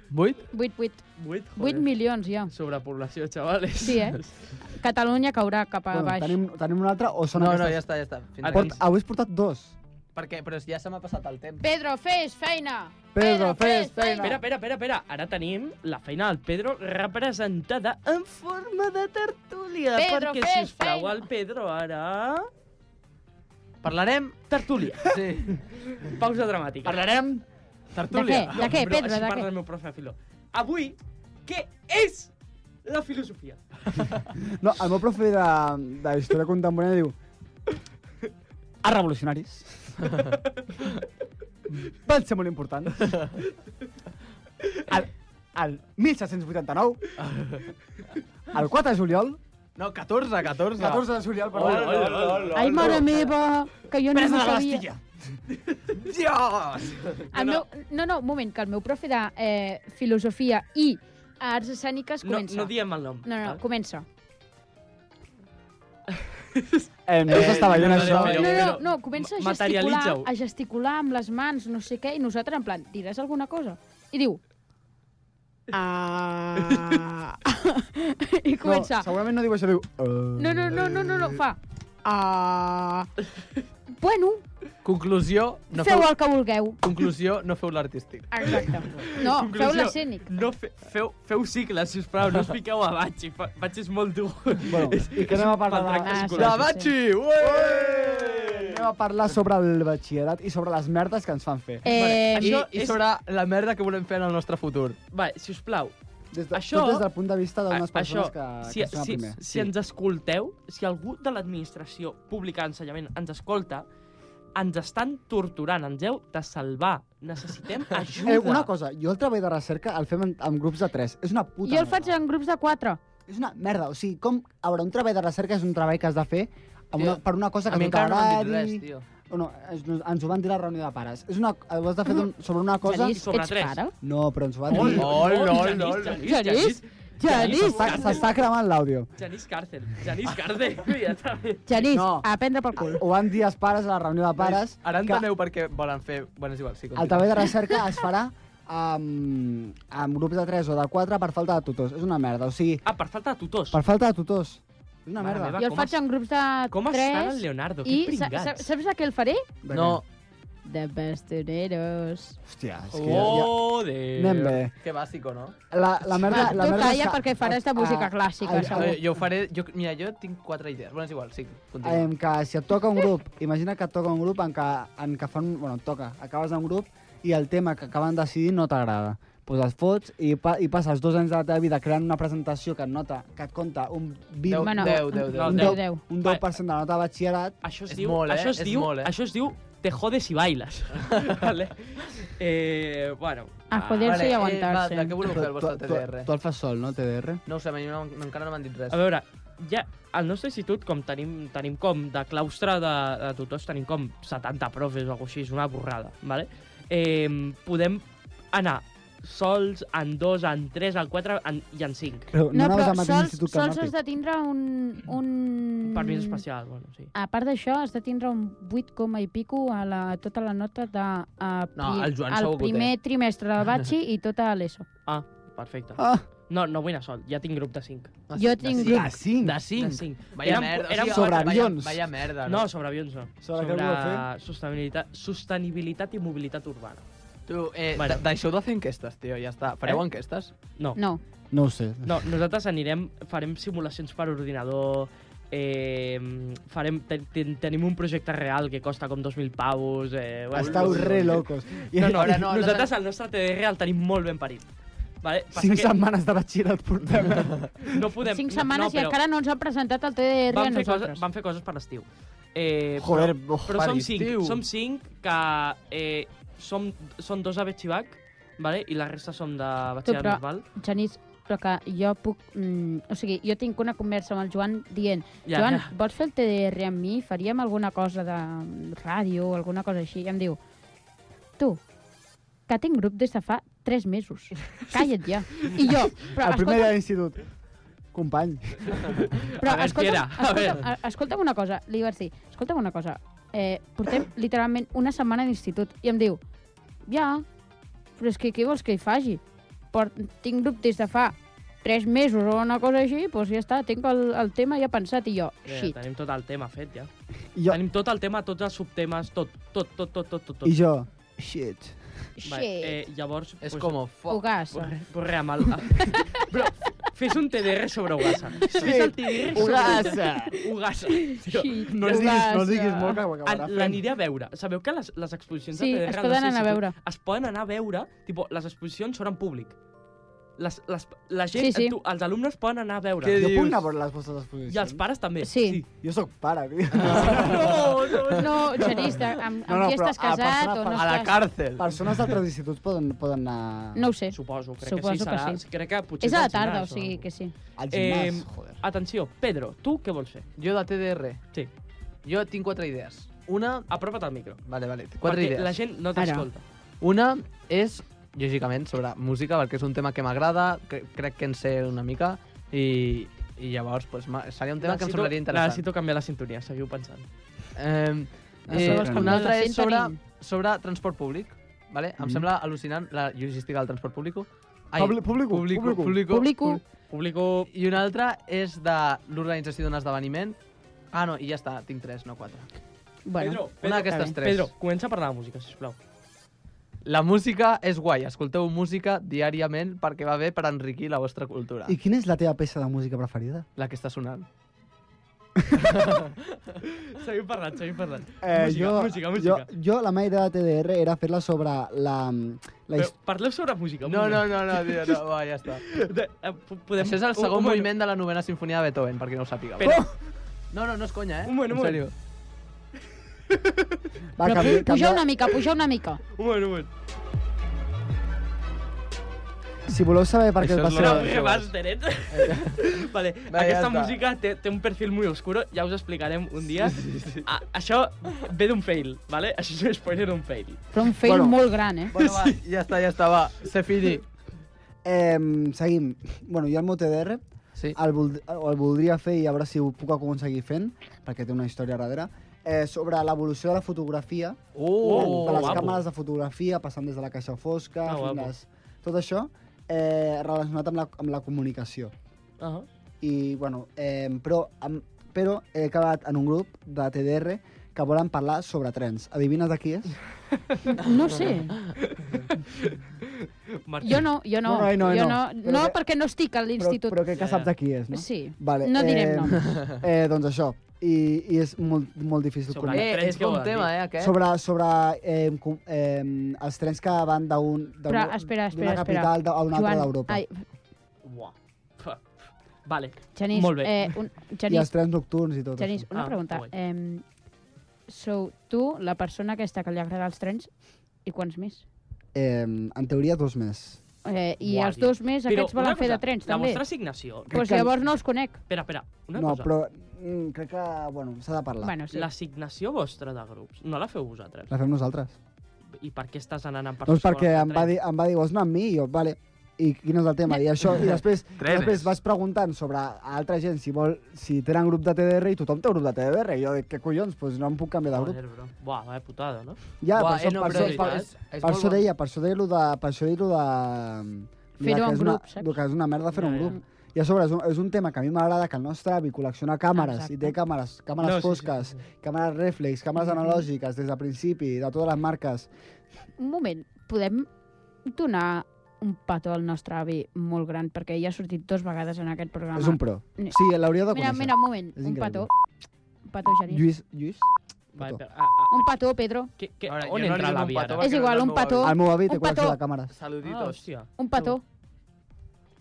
Vuit? Vuit, vuit. Vuit, Vuit joder. milions, ja. Sobrepoblació, xavales. Sí, eh? Catalunya caurà cap a Bueno, baix. tenim, tenim un altre o són No, no, ja aquestes? està, ja està. Fins Ara- aquí. Port, avui has portat dos. Per què? Però ja se m'ha passat el temps. Pedro, fes feina! Pedro, fes Espera, espera, espera, espera. Ara tenim la feina del Pedro representada en forma de tertúlia. Pedro, perquè, fes sisplau, feina. el Pedro ara... Parlarem... Tertúlia. Sí. Pausa dramàtica. Parlarem... De què? Tertúlia. De què, Bro, Pedro? així De parla què? el meu profe Filó. Avui, què és la filosofia? No, el meu profe de, de història contemporània diu a revolucionaris van ser molt importants. El, el 1789, el 4 de juliol, No, 14, 14. 14 de juliol, perdó. Hola, hola, hola, hola. Ai, mare meva, que jo no Presa ho de la sabia. Bastilla. Dios! El meu, no, no, un moment, que el meu profe de eh, filosofia i arts escèniques No, Ah. Doncs comença. no diem el nom. no, no, val? comença. Eh, no s'està veient no, això. no, No, Però- no, no, comença a Ma- gesticular, materialitza-ho. a gesticular amb les mans, no sé què, i nosaltres en plan, diràs alguna cosa? I diu... Ah... I No, comença... segurament no diu això, diu... "Eh". No, no, no, no, no, no, fa... Ah... Bueno, Conclusió, no no feu... feu el que vulgueu. Conclusió, no feu l'artístic. Exacte. Conclusió. No, oh, feu l'escènic. No, fe, feu, feu cicles, sisplau, no us piqueu a Batxi. Fa- Batxi és molt dur. Bueno, i què anem a parlar de... maltracte Ah, sí. escolar. La Batxi! Ué! Anem a parlar sobre el batxillerat i sobre les merdes que ens fan fer. Eh, I, Això I és- sobre la merda que volem fer en el nostre futur. Va, sisplau, Des de, Això- això... Tot des del punt de vista d'unes A- persones que, si, que són a si, primer. si ens escolteu, si algú de l'administració pública d'ensenyament ens escolta, ens estan torturant, ens heu de salvar. Necessitem ajuda. Eh, una cosa, jo el treball de recerca el fem en, en grups de 3. És una puta jo el merda. faig en grups de quatre. És una merda. O sigui, com... A veure, un treball de recerca és un treball que has de fer amb una, Tio, per una cosa A que mi no encara no m'han dit res, t'agradi... tio. o no, ens, ens ho van dir a la reunió de pares. És una, ho has de fer d'un- sobre una cosa... Genís, sobre ets tres. pare? No, però ens ho van Ol, dir... Ol, ol, ol, Janís, ol. Janís, Genís? Janís, Genís? S'està- S'està cremant l'àudio. Janís Cárcel. Janís Cárcel, immediatament. Genís, No. a prendre pel Ah, cul. Ho van dir els pares a la reunió de pares. Ara que- enteneu per què volen fer... Bueno, és igual, sí, El treball de recerca es farà amb, amb grups de 3 o de 4 per falta de tutors. És una merda, o sigui, Ah, per falta de tutors. per falta de tutors. És una Mare merda. meva, Jo el com faig es- en grups de Com tres. estan el Leonardo? Que I sa- sa- pringats. saps a què el faré? De No, De bastoneros. Hòstia, és que ja, Oh, ja... Déu. Anem bé. que bàsico, no? La, la merda... Va, la tu merda és calla que- perquè faràs de música clàssica, ai, segur. ai, Eh, jo ho faré... Jo, mira, jo tinc quatre idees. Bueno, és igual, sí, Eh, continua. que si et toca un grup, imagina que et toca un grup en què, en què fan... Bueno, et toca, acabes d'un grup i el tema que acaben decidint no t'agrada. Doncs pues els fots i, pa, i passes dos anys de la teva vida creant una presentació que et nota, que et compta un 20... Bueno, Deu, deu, deu. no, un, deu. 10, un 10% de la nota de batxillerat. Això es, És diu, molt, eh? això es És diu, molt, eh? això es diu te jodes i bailes. vale. Eh, bueno. A joder-se i eh, va, aguantar-se. de què voleu fer el vostre tu, TDR? tu el fas sol, no, TDR? No ho sé, a mi no, encara no m'han dit res. A veure, ja al nostre institut, com tenim, tenim com de claustre de, de tutors, tenim com 70 profes o alguna cosa així, és una borrada, vale? Eh, podem anar sols, en dos, en tres, en quatre en, i en cinc. Però No, anaves però al mateix sols, institut que el sols has Martí. de tindre un... un... Un permís Mm. especial, bueno, sí. A part d'això, has de tindre un 8, coma i pico a la, tota la nota de, a, No, el Joan al segur que ho té. primer trimestre de batxi i tota l'ESO. Ah, perfecte. Ah, No, no vull anar sol, ja tinc grup de 5. Jo tinc De Ah, grup. 5. De 5? De De 5. Vaya merda. Érem, o sigui, sobre vaya- avions. Vaya, merda. no, sobre avions no. Sobre què voleu sostenibilitat, sostenibilitat i mobilitat urbana. Tu, eh, Bueno. de- deixeu de fer enquestes, tio, ja està. Fareu Eh? enquestes? No. No. No ho sé. No, nosaltres anirem, farem simulacions per ordinador, eh, farem, ten, ten, tenim un projecte real que costa com 2.000 pavos... Eh, bueno, Estau re locos. I No, no, Ara ara no, no, nosaltres el nostre TDR el tenim molt ben parit. Vale? Passa 5 que setmanes de batxillerat portem. No podem... Cinc setmanes no, i però encara no ens han presentat el TDR a Van fer, nosaltres. coses, van fer coses per l'estiu. Eh, Joder, però, oh, però per som cinc, l'estiu. som cinc que eh, som, són dos a Betxibac, vale? i la resta som de batxillerat però- normal. Genís, però que jo puc... Mm, o sigui, jo tinc una conversa amb el Joan dient Ja, Joan, ja. vols fer el TDR amb mi? Faríem alguna cosa de ràdio o alguna cosa així? I em diu, tu, que tinc grup des de fa 3 mesos. Calla't ja. I jo, però El primer dia escolta, de l'institut. Company. però A veure, escolta'm, Piera, a veure. escolta'm, a- escolta'm una cosa. Li vaig dir, escolta'm una cosa. Eh, portem literalment una setmana d'institut. I em diu, ja, però és que què vols que hi faci? Port, tinc grup des de fa 3 mesos o una cosa així, doncs ja està, tinc el, el tema ja pensat. I jo, Eh, shit. tenim tot el tema fet, ja. I Jo... jo, Tenim tot el tema, tots els subtemes, tot, tot, tot, tot, tot, tot. tot. i jo, shit. Vale, Shit. eh, llavors... És pues, com, fuck. Ugassa. Pues, pues re, amb el... Bro, fes un TDR sobre Ugassa. Fes el TDR sobre Ugassa. Ugassa. Shit. No els diguis, no els diguis molt, que ho En- acabarà fent. L'aniré a veure. Sabeu que les, les exposicions Sí, de TDR... es al poden nostre anar a institut veure. Es poden anar a veure... Tipo, les exposicions són en públic. Les, les, la gent, Sí, sí. Tu, els alumnes poden anar a veure. Què Jo puc dius? anar a veure les vostres exposicions? I els Ah. pares també. Sí. Jo sóc pare, tio. No, no, no. No, Genís, de- amb, amb No, no, qui però estàs a casat persona- o no A la estàs... càrcel. Persones d'altres instituts poden, poden anar No ho sé. Suposo, crec Suposo que sí. que Serà, sí. Crec que potser És a la al gimnàs tarda, o no? sigui que sí. al gimnàs. Em, joder. Atenció, Pedro, tu què vols fer? Jo de TDR. Sí. Jo tinc quatre idees. Una... Apropa't al micro. Vale, vale. Quatre perquè idees. la gent no Ara. t'escolta. Una és, lògicament, sobre música, perquè és un tema que m'agrada, cre crec que en sé una mica, i, i llavors pues, ma- seria un tema que em Necessito- semblaria interessant. Necessito canviar la sintonia, seguiu pensant. Eh, Això eh, vols una canviar altra la és sobre, sintonia? sobre transport públic. Vale? Em Mm-hmm. Mhm. sembla al·lucinant la logística del transport públic. Ai, Publi- público, público, público. público, Público, Público... I una altra és de l'organització d'un esdeveniment. Ah, no, i ja està, tinc tres, no quatre. bueno, Pedro, una d'aquestes està tres. Pedro, comença a parlar de música, sisplau. La música és guai, escolteu música diàriament perquè va bé per enriquir la vostra cultura. I quina és la teva peça de música preferida? La que està sonant. Seguim parlant, seguim parlant. música, Eh, jo, música, música. Jo, jo, la meva idea de TDR era fer-la sobre la... mm, la Però his- parleu sobre música. un No, no, moment. no, no, tio, no, va, ja està. De, eh, po- podem... Això és el un- segon un moment. moviment de la novena sinfonia de Beethoven, perquè no ho sàpiga. Oh! Espera. No, no, no és conya, eh? Un moment, un en sèrio. Va, Però canvi- pu- puja canvia- una mica, puja una mica. Un moment, un moment. Si voleu saber per què Això va és ser... No, Però- que vas, Teret. vale, Va, ja aquesta està. música té, té un perfil molt oscuro, ja us explicarem un dia. Sí, sí, sí. A, això ve d'un fail, vale? Això és un spoiler d'un fail. Però un fail Bueno. molt gran, eh? Bueno, va, ja està, ja està, va. Se fini. Eh, seguim. Bueno, jo el meu TDR Sí. el, vold, el voldria fer i a veure si ho puc aconseguir fent, perquè té una història darrere, eh, sobre l'evolució de la fotografia, Oh, de les guapo. càmeres de fotografia, passant des de la caixa fosca, Ah, oh, guapo. les, tot això, eh, relacionat amb la, amb la comunicació. Uh -huh. I, bueno, eh, però, amb, però he acabat en un grup de TDR que volen parlar sobre trens. Adivines de qui és? No sé. Jo no, jo no. No, no, no, jo no, no. no perquè no estic a Però, l'institut. però crec Ja, ja. que saps de qui és, no? Sí. Vale, No direm eh, noms. Eh, doncs això. I, i és molt, molt difícil Sobre connectar. Eh, Trens és que bon volen tema, eh, aquest. Sobre, sobre eh, com- eh, els trens que van d'un- d'un- Però, espera, espera, d'una espera. capital a una altra Joan, d'Europa. Ai, Uah. Fa- Vale. Genís, Molt bé. eh, un, I els Genís, trens nocturns i tot Genís, això. una Ah, pregunta. guai. Eh, sou tu la persona aquesta que li agrada els trens i quants més? Eh, en teoria, dos més. Eh, I Guai. els dos més, aquests una volen fer cosa, de trens, La també. vostra assignació... Crec Doncs que- llavors no els conec. Espera, espera, una no, cosa. però mm, crec que, bueno, s'ha de parlar. Bueno, sí. L'assignació vostra de grups no la feu vosaltres? La fem nosaltres. I per què estàs anant en Per doncs perquè em va, dir, em va dir, vols anar amb mi? I jo, vale. I quin és el tema? I això, i després, i després vas preguntant sobre a altra gent si vol, si tenen grup de TDR i tothom té grup de TDR. I jo dic, què collons? Doncs pues no em puc canviar de grup. Joder, bro. Buah, vaya putada, no? Ja, per Buah, això, eh, no, per però això, és per, veritat. És per molt això bon. deia, per això deia lo de, per això deia lo de Fer-ho que en és una- grup, saps? El que és una merda fer-ho en Ja, ja. grup. I a sobre és un, és un tema que a mi m'agrada, que el nostre avi col·lecciona càmeres, Exacte. i té càmeres, càmeres No, no, sí, sí, fosques, sí, sí, sí. càmeres reflex, càmeres analògiques, des del principi, de totes les marques. Un moment, podem donar un petó al nostre avi molt gran, perquè ja ha sortit dues vegades en aquest programa. És un pro. Ni- Sí, l'hauria de Mira, conèixer. mira, un moment, És un increïble. petó. Un petó, Genís. Lluís, Lluís, Va, Petó. a, a, Un petó, Pedro. que, que, A veure, ah, on jo no li entra dono l'avi un petó ara? perquè És igual, no és un el petó. meu el meu avi Oh, té Un col·lecció petó. de càmeres. Ah, Saluditos. hòstia. Un petó.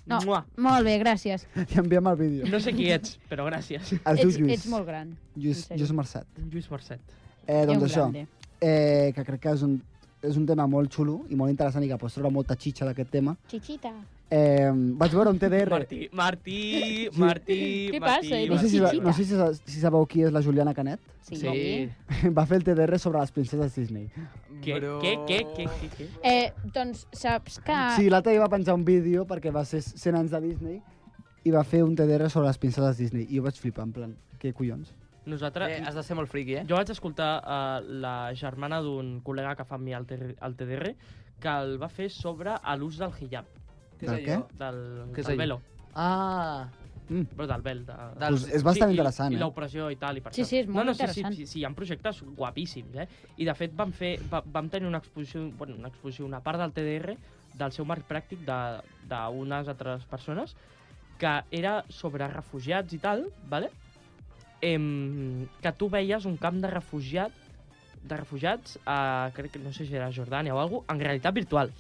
No. Mua. Molt bé, gràcies. I enviem el vídeo. No sé qui ets, però gràcies. Es diu Ets, Lluís. ets molt gran. Lluís, en sèrio. Lluís Mercet. Lluís Barcet. Eh, Déu doncs això, grande. eh, que crec que és un, és un tema molt xulo i molt interessant i que pots treure molta xitxa d'aquest tema. Chichita. Eh, vaig veure un TDR... Martí, Martí, Martí, Què Martí, passa? Martí. No sé, si, Xitxa. no sé si, sa- si sabeu qui és la Juliana Canet. Sí. Sí. Va fer el TDR sobre les princeses Disney. Què, Bro. què, què, què, què, què? Eh, doncs saps que... Ah. Sí, l'altre dia va penjar un vídeo perquè va ser 100 anys de Disney i va fer un TDR sobre les princeses Disney. I jo vaig flipar, en plan, què collons? Nosaltres... Eh, has de ser molt friqui, eh? Jo vaig escoltar uh, la germana d'un col·lega que fa amb mi al, TR, al TDR que el va fer sobre a l'ús del hijab, Què és Del allò? del, Què és del allò? velo, Ah, Mm. però del vel. De... Del- Pues és bastant i- interessant, I eh? l'operació i tal, i per Sí, això. sí, és molt no, no, interessant. Sí, sí, sí, hi ha projectes guapíssims, eh? I de fet vam, fer, va, vam tenir una exposició, bueno, una exposició, una part del TDR del seu marc pràctic de- d'unes altres persones que era sobre refugiats i tal, vale? Em, que tu veies un camp de refugiat de refugiats, a, crec que no sé si era Jordània o alguna cosa, en realitat virtual.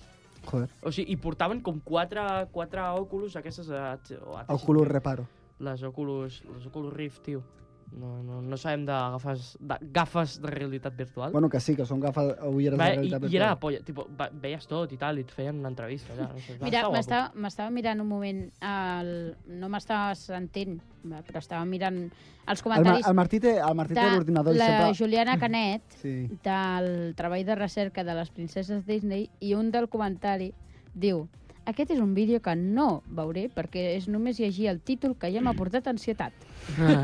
Joder, O sigui, i portaven com quatre, quatre òculos, eh, aquestes... A, a, el culo reparo. les Oculus, les Oculus Rift, tio. No, no, no sabem de gafes de, gafes de realitat virtual. Bueno, que sí, que són gafes ulleres va, de i, realitat I era la virtual. polla, tipo, va, veies tot i tal, i et feien una entrevista. Ja, no sé, va, Mira, està guapo. m'estava m'estava mirant un moment el... No m'estava sentint, va, però estava mirant els El, Ma- comentaris el Martí té el Martí té l'ordinador i la sempre... Juliana Canet Sí. del treball de recerca de les princeses Disney i un del comentari diu aquest és un vídeo que no veuré perquè és només llegir el títol que ja m'ha portat ansietat.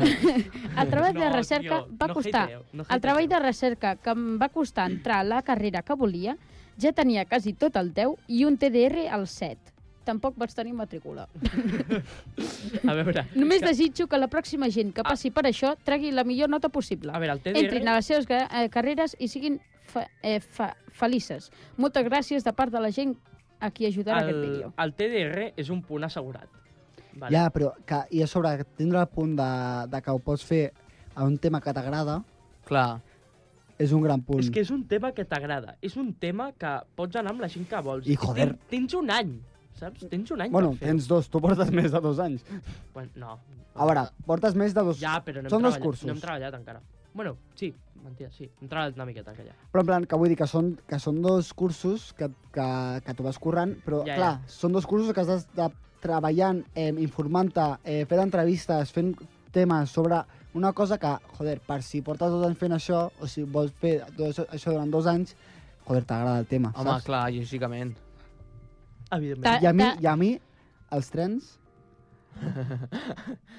el treball Mm. de Ah. No, recerca tio, va no costar hateu, no El treball de hateu. recerca que em va costar entrar a la carrera que volia ja tenia quasi tot el 10 i un TDR al 7. Tampoc vaig tenir matrícula. A veure, Només desitjo que la pròxima gent que passi per això tregui la millor nota possible. Ah. a veure, el TDR... Entrin a les seves ca- eh, carreres i siguin fa, eh, fa, felices. Moltes gràcies de part de la gent a qui ajudarà el... aquest el, vídeo. el TDR és un punt assegurat. Vale. Ja, però que, i a sobre tindre el punt de, de que ho pots fer a un tema que t'agrada clar. és un gran punt. És que és un tema que t'agrada. És un tema que pots anar amb la gent que vols. I, joder. Tens, tens un any, saps? Tens un any Bueno, per fer-ho. tens dos, tu portes més de dos anys. Bueno, no. A veure, portes més de dos... Ja, però no hem, Són dos treballat, cursos. no hem treballat encara. Bueno, sí, mentida, sí. Hem treballat una miqueta aquella. Però en plan, que vull dir que són, que són dos cursos que, que, que t'ho vas currant, però Ja, ja, clar, ja. són dos cursos que has de treballant, eh, informant-te, eh, fent entrevistes, fent temes sobre una cosa que, joder, per si portes dos anys fent això, o si vols fer tot això, això durant dos anys, joder, t'agrada el tema, Home, saps? clar, lògicament. Evidentment. I a Eh, mi, i a mi els trens...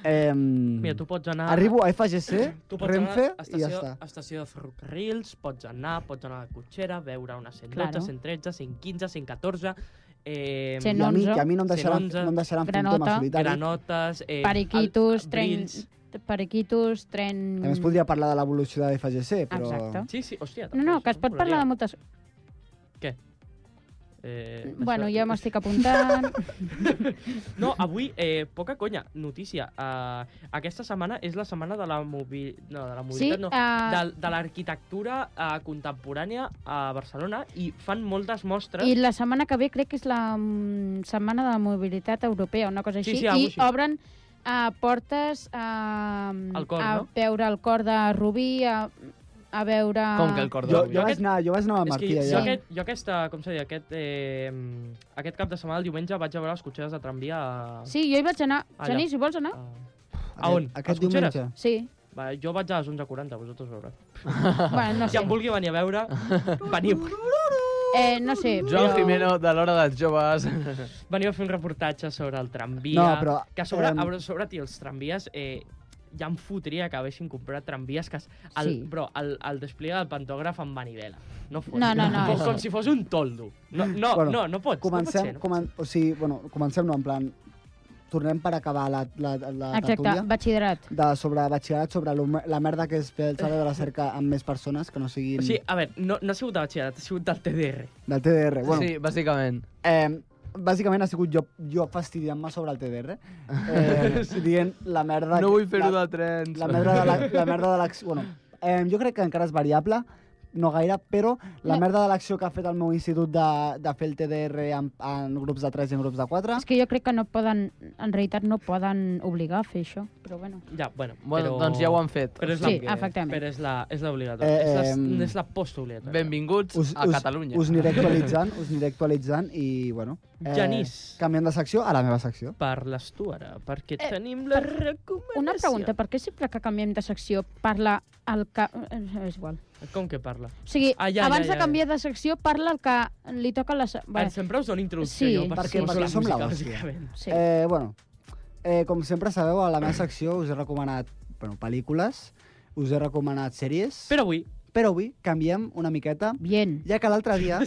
eh, Mira, tu pots anar... Arribo a FGC, tu pots Renfe, anar a i estació, ja està. A estació de ferrocarrils, pots anar, pots anar a la cotxera, veure una 112, Claro. 113, 115, 114... Eh, Cent- I a mi, i a mi no em Ser deixaran, onze. no em deixaran fer un Granota. tema solitari. granotes... Eh, Periquitos, el- tren... brills. Periquitos, tren... També es podria parlar de l'evolució de FGC, però... Exacte. Sí, sí, hòstia... eh, No, no, que es pot parlar de moltes... de... Eh, Bueno, això- ja m'estic apuntant. No, avui, eh, poca conya, notícia. Uh, aquesta setmana és la setmana de la, mobi... no, de la sí, mobilitat, no, eh, de, de l'arquitectura eh, contemporània a Barcelona i fan moltes mostres. i la setmana que ve crec que és la mm, setmana de la mobilitat europea, una cosa Sí, així, sí, algo i així. obren a portes a, Al cor, a no? veure el cor de Rubí, a, a veure... Com que el cor de Jo, Déu. jo, vaig anar, jo vaig anar amb el és que Martí jo, jo, allà. aquest, jo aquesta, com se diu, aquest, eh, aquest cap de setmana, el diumenge, vaig a veure les cotxeres de tramvia a... Sí, jo hi vaig anar. Allà. Genís, hi vols anar? a... Aquest- on? Aquest Les cotxeres? diumenge. Sí. Va, jo vaig a les 11.40, vosaltres veureu. bueno, no Si sé. em vulgui venir a veure, veniu. Eh, no sé. Joan Jimeno, de l'hora dels joves. Veniu a fer un reportatge sobre el tramvia. No, però... Que a sobre, em, a sobre, tio, els tramvies... Eh, ja em fotria que haguessin comprat tramvies que... es- El, Sí. Però el, el desplega del pantògraf amb manivela. No, fot. No, no, no, Com, és- com si fos un toldo. No, no, Bueno, bueno, no, no pots. no pot ser, Comencem, no? comen o sigui, bueno, comencem, no, en plan... Tornem per acabar la, la, la Exacte, tertúlia batxillerat. de sobre batxillerat, sobre lo, la merda que és fer el xalet de la cerca amb més persones que no siguin O sigui, a veure, no, no ha sigut de batxillerat, ha sigut del TDR. del TDR. Bueno, Sí, bàsicament. Eh, bàsicament ha sigut jo, jo fastidiant-me sobre el TDR, eh, dient la merda... No que- vull fer-ho la, de trens. la merda de la, la merda de l'acció... Bueno, eh, jo crec que encara és variable, no gaire, però la No. merda de l'acció que ha fet el meu institut de, de fer el TDR en, en grups de 3 i en grups de 4... És que jo crec que no poden, en realitat no poden obligar a fer això, però bueno. Ja, bueno, però... Bueno, doncs ja ho han fet. mm. Però és Sí, la, efectivament. Però és la, és l'obligatòria. Eh, Eh, és em, la, és la postobligatòria. Benvinguts Us, a us, Catalunya. us aniré actualitzant, us aniré actualitzant i, bueno... eh, Genís. Canviant de secció a la meva secció. Parles tu ara, perquè Eh, tenim la per- recomanació. Una pregunta, per què sempre que canviem de secció parla el que... eh, És igual. Com que parla? O sigui, Ah, ja, abans ja, de ja. canviar de secció parla el que li toca la... se- Bueno, Bé, sempre us dono introducció Sí. jo, per si Perquè- us perquè la som música, la hòstia. bàsicament. sí. Eh, bueno, eh, com sempre sabeu, a la meva secció us he recomanat bueno, pel·lícules, us he recomanat sèries, però, Però avui, però avui canviem una miqueta, Bien. ja que l'altre dia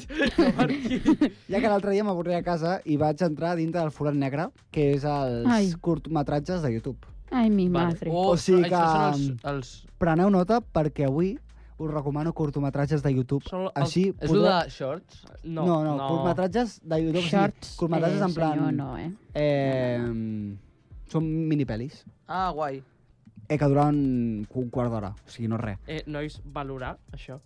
Martí, ja que l'altre dia m'avorria a casa i vaig entrar dintre del forat negre, que és els Ai. curtmetratges de YouTube. Ai, mi Vale. madre. Oh, O sigui que- Això són els... els... Preneu nota perquè avui us recomano curtmetratges de YouTube. Són els- Així És el de shorts? No, no, no, curtmetratges de YouTube. Shorts, sí, curtmetratges en plan... senyor, no, eh? eh, són minipelis. Ah, guai. Eh, que duren un quart d'hora, o sigui, no és res. Eh, nois, valorar això.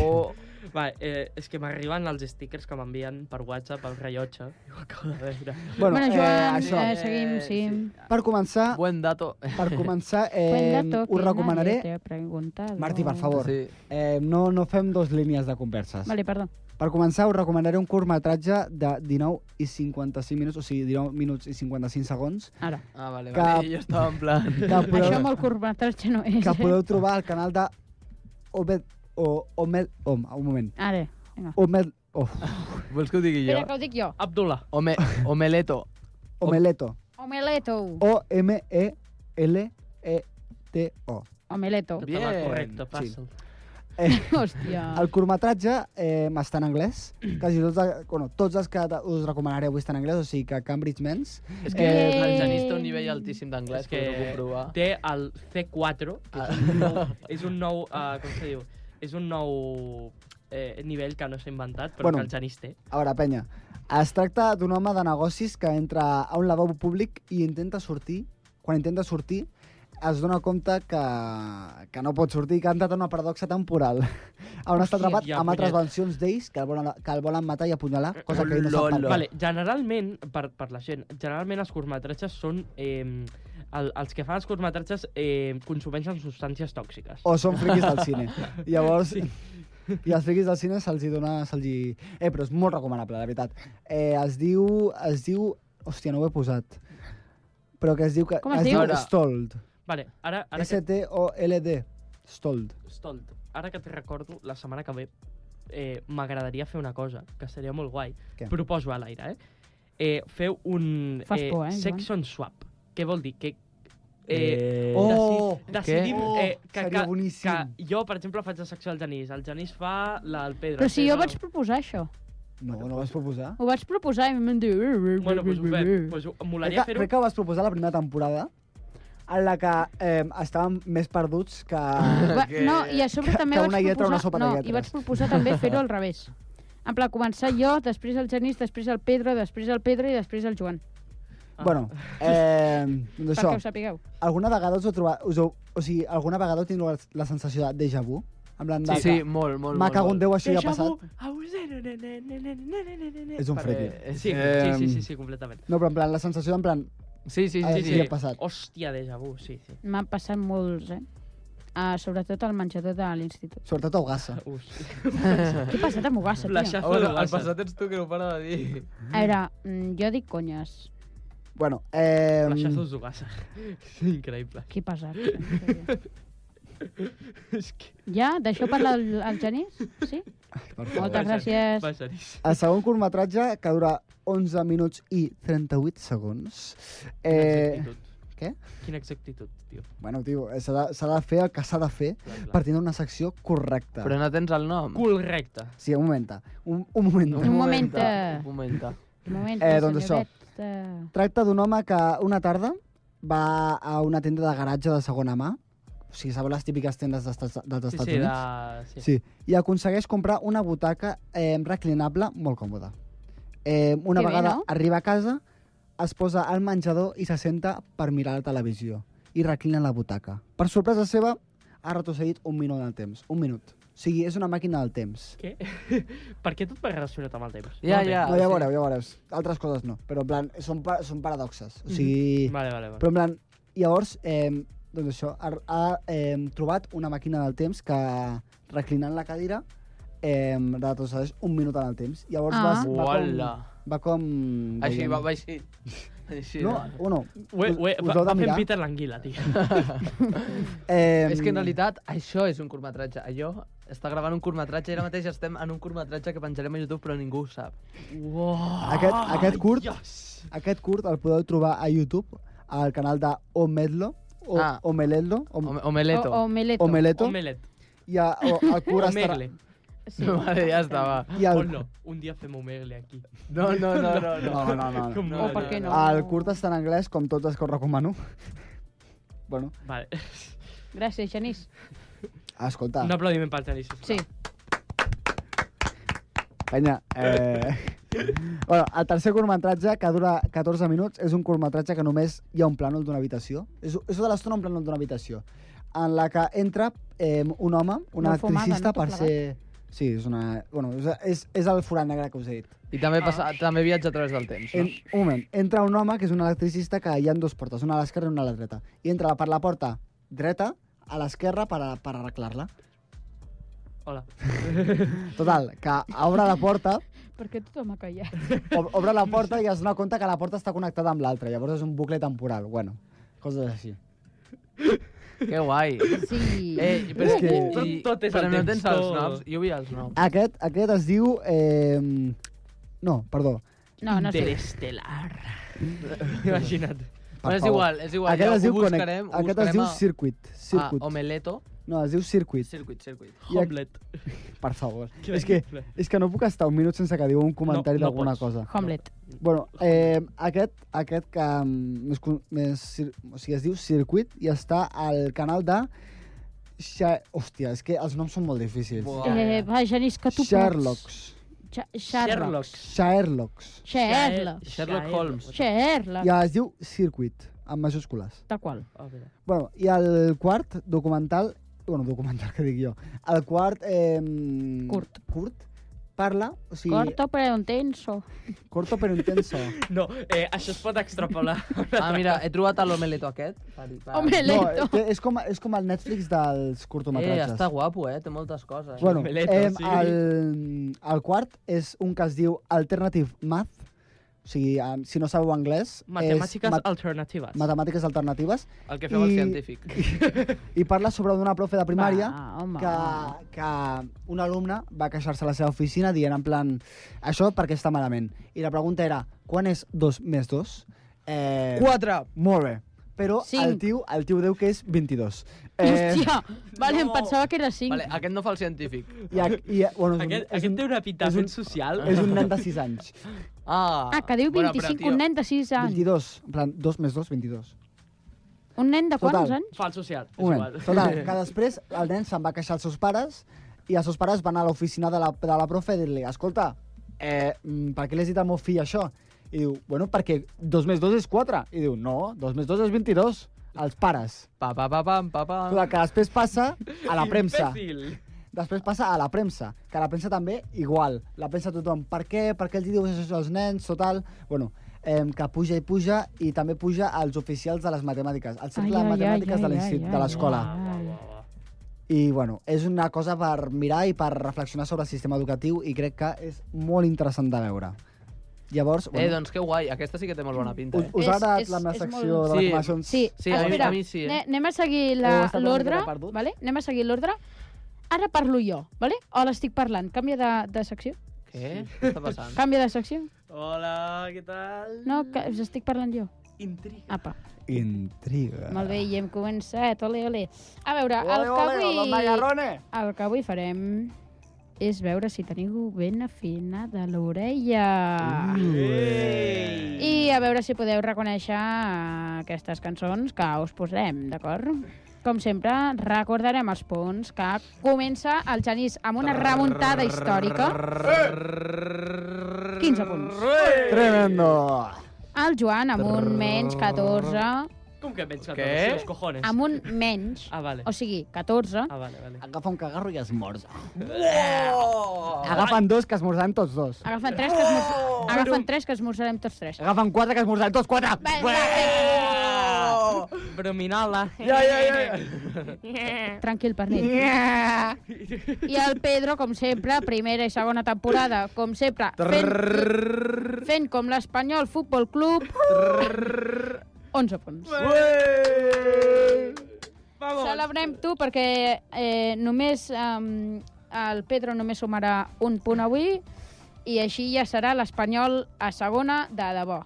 O... Va, eh, és que m'arriben els stickers que m'envien per WhatsApp, el rellotge. Ho acabo de veure. Bueno, Joan, això. eh, seguim, Eh, sí. sí. Per començar, Buen dato. per començar eh, Cuenta tú us que nadie recomanaré... te ha preguntado. Martí, per favor, Sí. eh, no, no fem dos línies de converses. Vale, perdó. Per començar, us recomanaré un curtmetratge de 19 i 55 minuts, o sigui, 19 minuts i 55 segons, Ara. Ah, vale, Que- vale. Jo estava en plan... que Però... Això podeu, molt curtmetratge no és. eh? que podeu trobar al canal de Obed... O, Omed... Om, un moment. Ara. Vinga. Omed... Of, Vols que ho digui jo? Espera, que ho dic jo. Abdullah. Ome, omeleto. omeleto. E Omeleto. O-M-E-L-E-T-O. Omeleto. Bien. Correcte, passa'l. Eh, Hòstia. el curtmetratge eh, està en anglès. Quasi tots, eh, bueno, tots els que us recomanaré avui estan en anglès, o sigui que Cambridge Men's És que Eh. el Genís té un nivell altíssim d'anglès, És que que- podeu comprovar. Té el C4, que és un Ah. nou... És un nou eh, com se diu? És un nou eh, nivell que no s'ha inventat, però Bueno. que el Genís té. A veure, penya, es tracta d'un home de negocis que entra a un lavabo públic i intenta sortir. Quan intenta sortir, es dona compte que, que no pot sortir, que ha entrat en una paradoxa temporal. On Hòstia, està atrapat ja, amb altres punyet. vencions d'ells que, el volen, que el volen matar i apunyalar, cosa que ell no sap per Lolo. què. Vale, generalment, per, per la gent, generalment els curtmetratges són... Eh, el, els que fan els curtmetratges eh, consumeixen substàncies tòxiques. O són friquis del cine. Llavors, sí. i als friquis del cine se'ls hi dona... Se hi... Eh, però és molt recomanable, la veritat. Eh, es diu... Es diu... Hòstia, no ho he posat. Però que es diu... Que, Com es es diu? diu Stold. Vale, ara, ara, que, S-T-O-L-D. Stold. Stolt, ara que et recordo, la setmana que ve eh, m'agradaria fer una cosa, que seria molt guai. Què? Proposo a l'aire, eh? eh? Feu un Fas por, eh, section swap. Què vol dir? Que, eh, Oh! deci- decidim Oh, eh, que, seria que, boníssim. que jo, per exemple, faig la secció del Genís. El Genís fa la del Pedro. Però el si Pedro- jo vaig proposar això. No, no ho vas proposar? Ho vaig proposar i em diu... Bueno, doncs ho fem. Doncs ho- Crec molaria que, fer-ho crec que ho vas proposar la primera temporada, en la que eh, estàvem més perduts que... Va, no, i a sobre que- també que vaig una lletra o una sopa proposar... de No, i lletres. vaig proposar també fer-ho al revés. En pla, començar jo, després el Genís, després el Pedro, després el Pedro i després el Joan. Ah. Bueno, eh, doncs això, Perquè ho sapigueu. alguna vegada us heu trobat... Us heu, o sigui, alguna vegada heu tingut la sensació de déjà vu? En plan de Sí, sí, molt, molt, M'ha molt. cagut en Déu, això ja ha Déjà vu. passat. Au, zero, ne, ne, ne, ne, ne, ne, ne, ne, ne. És un Perquè- friki. Sí, Eh, sí, sí, sí, sí, completament. No, però en plan, la sensació en plan... Sí, sí, Ah, sí, sí, sí. ha passat. Hòstia, déjà vu, sí, sí. M'han passat molts, eh? Uh, sobretot al menjador de l'institut. Sobretot a Ogassa. Us. Què ha passat amb Ugassa, tio? Flashazo Hola, de el Barça. passat ets tu que no para de dir. A veure, mm, jo dic conyes. Bueno, eh, Flashazos d'Ugassa. És increïble. Què ha passat? en sèrio. És que... Ja? Deixeu parlar el, el Genís? Sí? per favor. Moltes gràcies. Va, Genís. El segon curtmetratge, que dura 11 minuts i 38 segons, Quina eh, actitud. Què? Quina exactitud, tio. Bueno, tio, eh, s'ha de, s'ha de fer el que s'ha de fer Clar, clar. per tindre una secció correcta. Però no tens el nom. Correcte. Sí, un moment. Un, un moment. Un moment. Un moment. Un moment, Eh, eh, doncs doncs això. Tracta d'un home que una tarda va a una tenda de garatge de segona mà, o sigui, sabeu les típiques tendes dels Estats, dels sí, Estats sí, Units? de... sí. Sí, i aconsegueix comprar una butaca eh, reclinable molt còmoda. Eh, una Que bé, vegada no? arriba a casa, es posa al menjador i se senta per mirar la televisió i reclina la butaca. Per sorpresa seva, ha retrocedit un minut en el temps. Un minut. O sigui, és una màquina del temps. Què? per què tot va relacionat amb el temps? Ja, No ja. No, ja Ah, sí. veureu, ja veureu. Altres coses no. Però, en plan, són, pa són paradoxes. O sigui... entenc. Vale, vale, vale. Però en plan, llavors, eh, doncs això, ha, ha eh, trobat una màquina del temps que reclinant la cadira eh, retrocedeix un minut en el temps. Llavors Ah. vas, va, Uala. com, va com... Així, diguem- va, va així. Així, No, va. o no. eh. Ué, ué, us va, heu de va fent mirar. Peter l'anguila, tio. Eh, És que en realitat això és un curtmetratge. Allò està gravant un curtmetratge i ara mateix estem en un curtmetratge que penjarem a YouTube però ningú ho sap. Uau. Aquest, aquest, curt, Yes. aquest curt el podeu trobar a YouTube, al canal de Omedlo, o, Ah. Omeletlo, Om- Ome- Omeleto. O, o Meleto. Omeleto, Omelet. i a, o, el curt estarà... Omegle. Sí. Vale, ja està, va. I O el, Oh, no, un dia fem omegle aquí. No, no, no, no. no, no, no, no. Com no, no, o per què no? El curt està en anglès, com tots els que us recomano. bueno, Vale. Gràcies, Genís. escolta, Un no. aplaudiment pel Genís. sisplau. Sí. penya, eh... bueno, el tercer curtmetratge, que dura 14 minuts, és un curtmetratge que només hi ha un plànol d'una habitació. És, és tota l'estona un plànol d'una habitació, en la que entra eh, un home, un Una fumada, electricista, no? Tot per ser... Sí, és una... Bueno, és, és, és el forat negre que us he dit. I també, passa, també viatja a través del temps, Ah. En, no? un moment, entra un home que és un electricista que hi ha dues portes, una a l'esquerra i una a la dreta. I entra per la porta dreta a l'esquerra per, a- per arreglar-la. Hola. Total, que obre la porta, Per què tothom ha callat? ob- obre la porta i es dona compte que la porta està connectada amb l'altra. Llavors és un bucle temporal. Bueno, coses així. Que guai. Sí. Eh, uh, però és que... I, Tot- tot és però el no temps, tens els tot. noms. Jo vull els noms. Aquest, aquest es diu... Eh... No, perdó. no, no sé. Interestelar. Imagina't. Per Bueno, és favor. igual, és igual. Aquest ja, es diu, ho connect... buscarem, ho aquest es buscarem diu a- circuit. circuit. Ah, omeleto. No, es diu circuit, Circuit, circuit. I a- Homelet. per favor. Quina És que, increïble. és que no puc estar un minut sense que digueu un comentari No, no d'alguna pots. cosa. Homelet. Bueno, eh, aquest, aquest que mm, més, con- més, cir- o sigui, es diu Circuit i està al canal de... Xa... Hòstia, és que els noms són molt difícils. Buah. Eh, va, Genís, que tu pots. Sherlocks. Cha- Sherlock. Sherlocks. eh, Sherlock. Sherlock Holmes. Sherlock. I es diu Circuit, amb majúscules. Tal qual. Oh, mira. Bueno, i el quart documental... Bueno, documental que dic jo. El quart... Eh, Curt. Curt. Parla, o sigui... Corto però intenso. Corto però intenso. No, eh, això es pot extrapolar. Ah, mira, he trobat l'omeleto aquest. Eh, Per, per... No, Omelento. és, que és, com, és com el Netflix dels Eh, curtometratges. està guapo, eh? Té moltes coses. Bueno, Omeleta, eh, sí. el, el quart és un que es diu Alternative Math, o sigui, em- si no sabeu anglès... Matemàtiques és mat alternatives. matemàtiques alternatives, El que feu al I- científic. i parla sobre d'una profe de primària Va, home. que, que un alumne va queixar-se a la seva oficina dient en plan, això perquè està malament. I la pregunta era, quan és 2 més 2? Eh, Quatre! Molt bé. Però el Cinc. tio, el tio diu que és Eh, 22. Eh, Hòstia, vale, em no. pensava que era 5. Vale, aquest no fa el científic. i, ac- i, bueno, és un- Aquest, és, aquest té un, una pinta és un- Ah. ben social. és un nen de 6 anys. Ah, Ah, que diu 25, Bueno, però, tio, un nen de 6 anys. 22, en plan, 2 més 2, 22. Un nen de quants Total. anys? Fals social. És Un moment, igual. total, que després el nen se'n va queixar als seus pares i els seus pares van a l'oficina de, la, de la profe a dir-li, escolta, eh, mm, per què l'has dit al meu fill això? I diu, bueno, perquè 2 més 2 és 4. I diu, no, 2 més 2 és 22. Els pares. Pa, pa, pa, pam, pa, pa. Clar, que després passa a la premsa. Imbècil. Després passa a la premsa, que a la premsa també igual. La premsa tothom, per què, per què els dius això als nens, total... Bueno, eh, que puja i puja i també puja als oficials de les matemàtiques, al cercle de matemàtiques de l'insti- de l'escola. Ah, I bueno, és una cosa per mirar i per reflexionar sobre el sistema educatiu i crec que és molt interessant de veure. Llavors, Eh, bueno, doncs que guai, aquesta sí que té molt bona pinta, us, eh? us És- ha agradat és- la meva és secció molt- de les Sí. recomanacions? Sí, Sí, a mi- espera, a mi sí, eh? ne- anem a seguir Heu la- estat una l'ordre, miqueta perduts? vale? anem a seguir l'ordre. Ara parlo jo, vale? o l'estic parlant? Canvia de, de secció? Què? Què està passant? Canvia de secció? Hola, què tal? No, que us estic parlant jo. Intriga. Apa, Intriga. molt bé, i hem començat, ole, ole. A veure, el Ole, ole, que los avui... macarrones! El que avui farem és veure si teniu ben afinada l'orella. I a veure si podeu reconèixer eh, aquestes cançons que us posarem, d'acord? Com sempre, recordarem els punts que comença el Genís amb una remuntada històrica. 15 punts. Tremendo! El Joan amb un menys 14, Com que menys que Què? tots els cojones? amb un menys, Ah, vale. o sigui, 14. Ah, vale, vale. Agafa un cagarro i esmorza. Agafen dos que esmorzaran tots dos. Agafen tres que, esmor... Agafen tres que esmorzarem tots tres. Agafen quatre que esmorzaran tots quatre! Va, va, Ah. Oh! va. Brominola. Ja, ja, ja. Tranquil, pernil. I el Pedro, com sempre, primera i segona temporada, com sempre, fent, fent com l'Espanyol Futbol Club. 11 punts. Eh. Eh, Celebrem tu perquè eh, només eh, el Pedro només sumarà un punt avui i així ja serà l'Espanyol a segona de debò.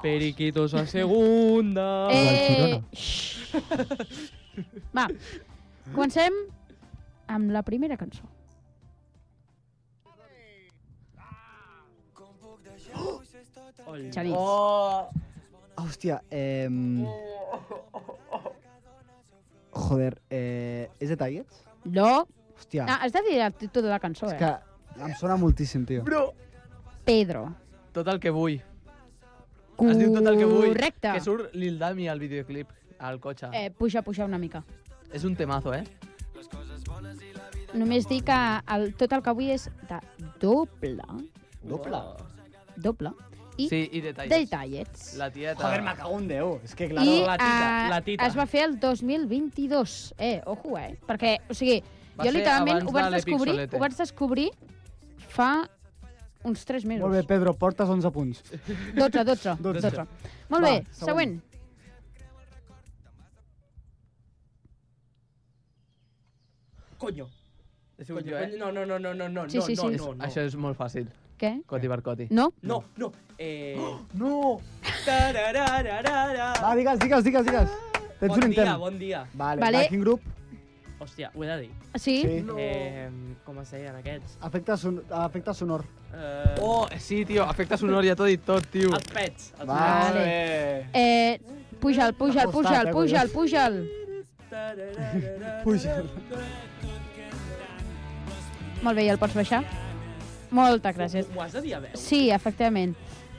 Periquitos a segunda. Eh, xx. Va, comencem amb la primera cançó. Oh! Ol. Xavis. Hòstia, eh... Joder, eh... És de Tigers? No. Hòstia, Ah, has de dir el títol de la cançó, és eh? que em sona moltíssim, tio. Pedro. Tot el que vull. Correcte. Es diu tot el que vull. Que surt Lil Dami al videoclip, al cotxe. Eh, puja, puja una mica. És un temazo, eh? Només dir que el, tot el que vull és de doble, Doble. doble, i Sí, i detalls. de tallets. La tieta. Joder, me cago en Déu. És que, clar, I la tita, eh, la tita. es va fer el 2022. Eh, ojo, eh? Perquè, o sigui, Va jo ser literalment abans ho vaig, de l'Epic descobrir, Solete. ho vaig descobrir fa uns 3 mesos. Molt bé, Pedro, portes 11 punts. 12, 12, 12. 12. Molt bé, Va, següent. següent. Coño. Deciu Coño, jo, eh? No, no, no, no, no, no, Sí, sí, no, sí. no, Eh. no. Això és molt fàcil. Què? Coti per coti. No? No, no. Eh... No! Va, Tararararara. digues, digues, digues, digues. Tens Bon un dia, intent. bon dia. Vale, Vale. vale. Quin grup? Hòstia, ho he de dir. Sí? Sí. Eh, com es deien aquests? Efecte, son efecte sonor. Eh, Oh, sí, tio, efecte sonor ja t'ho he dit tot, tio. Els pets. Els Vale. Vale. Eh, puja'l, puja'l, M'ha costat, puja'l, puja'l, eh, puja'l. pets. Puja. Molt bé, ja el pots baixar? Moltes gràcies. Ho has de dir a veu? Sí, efectivament.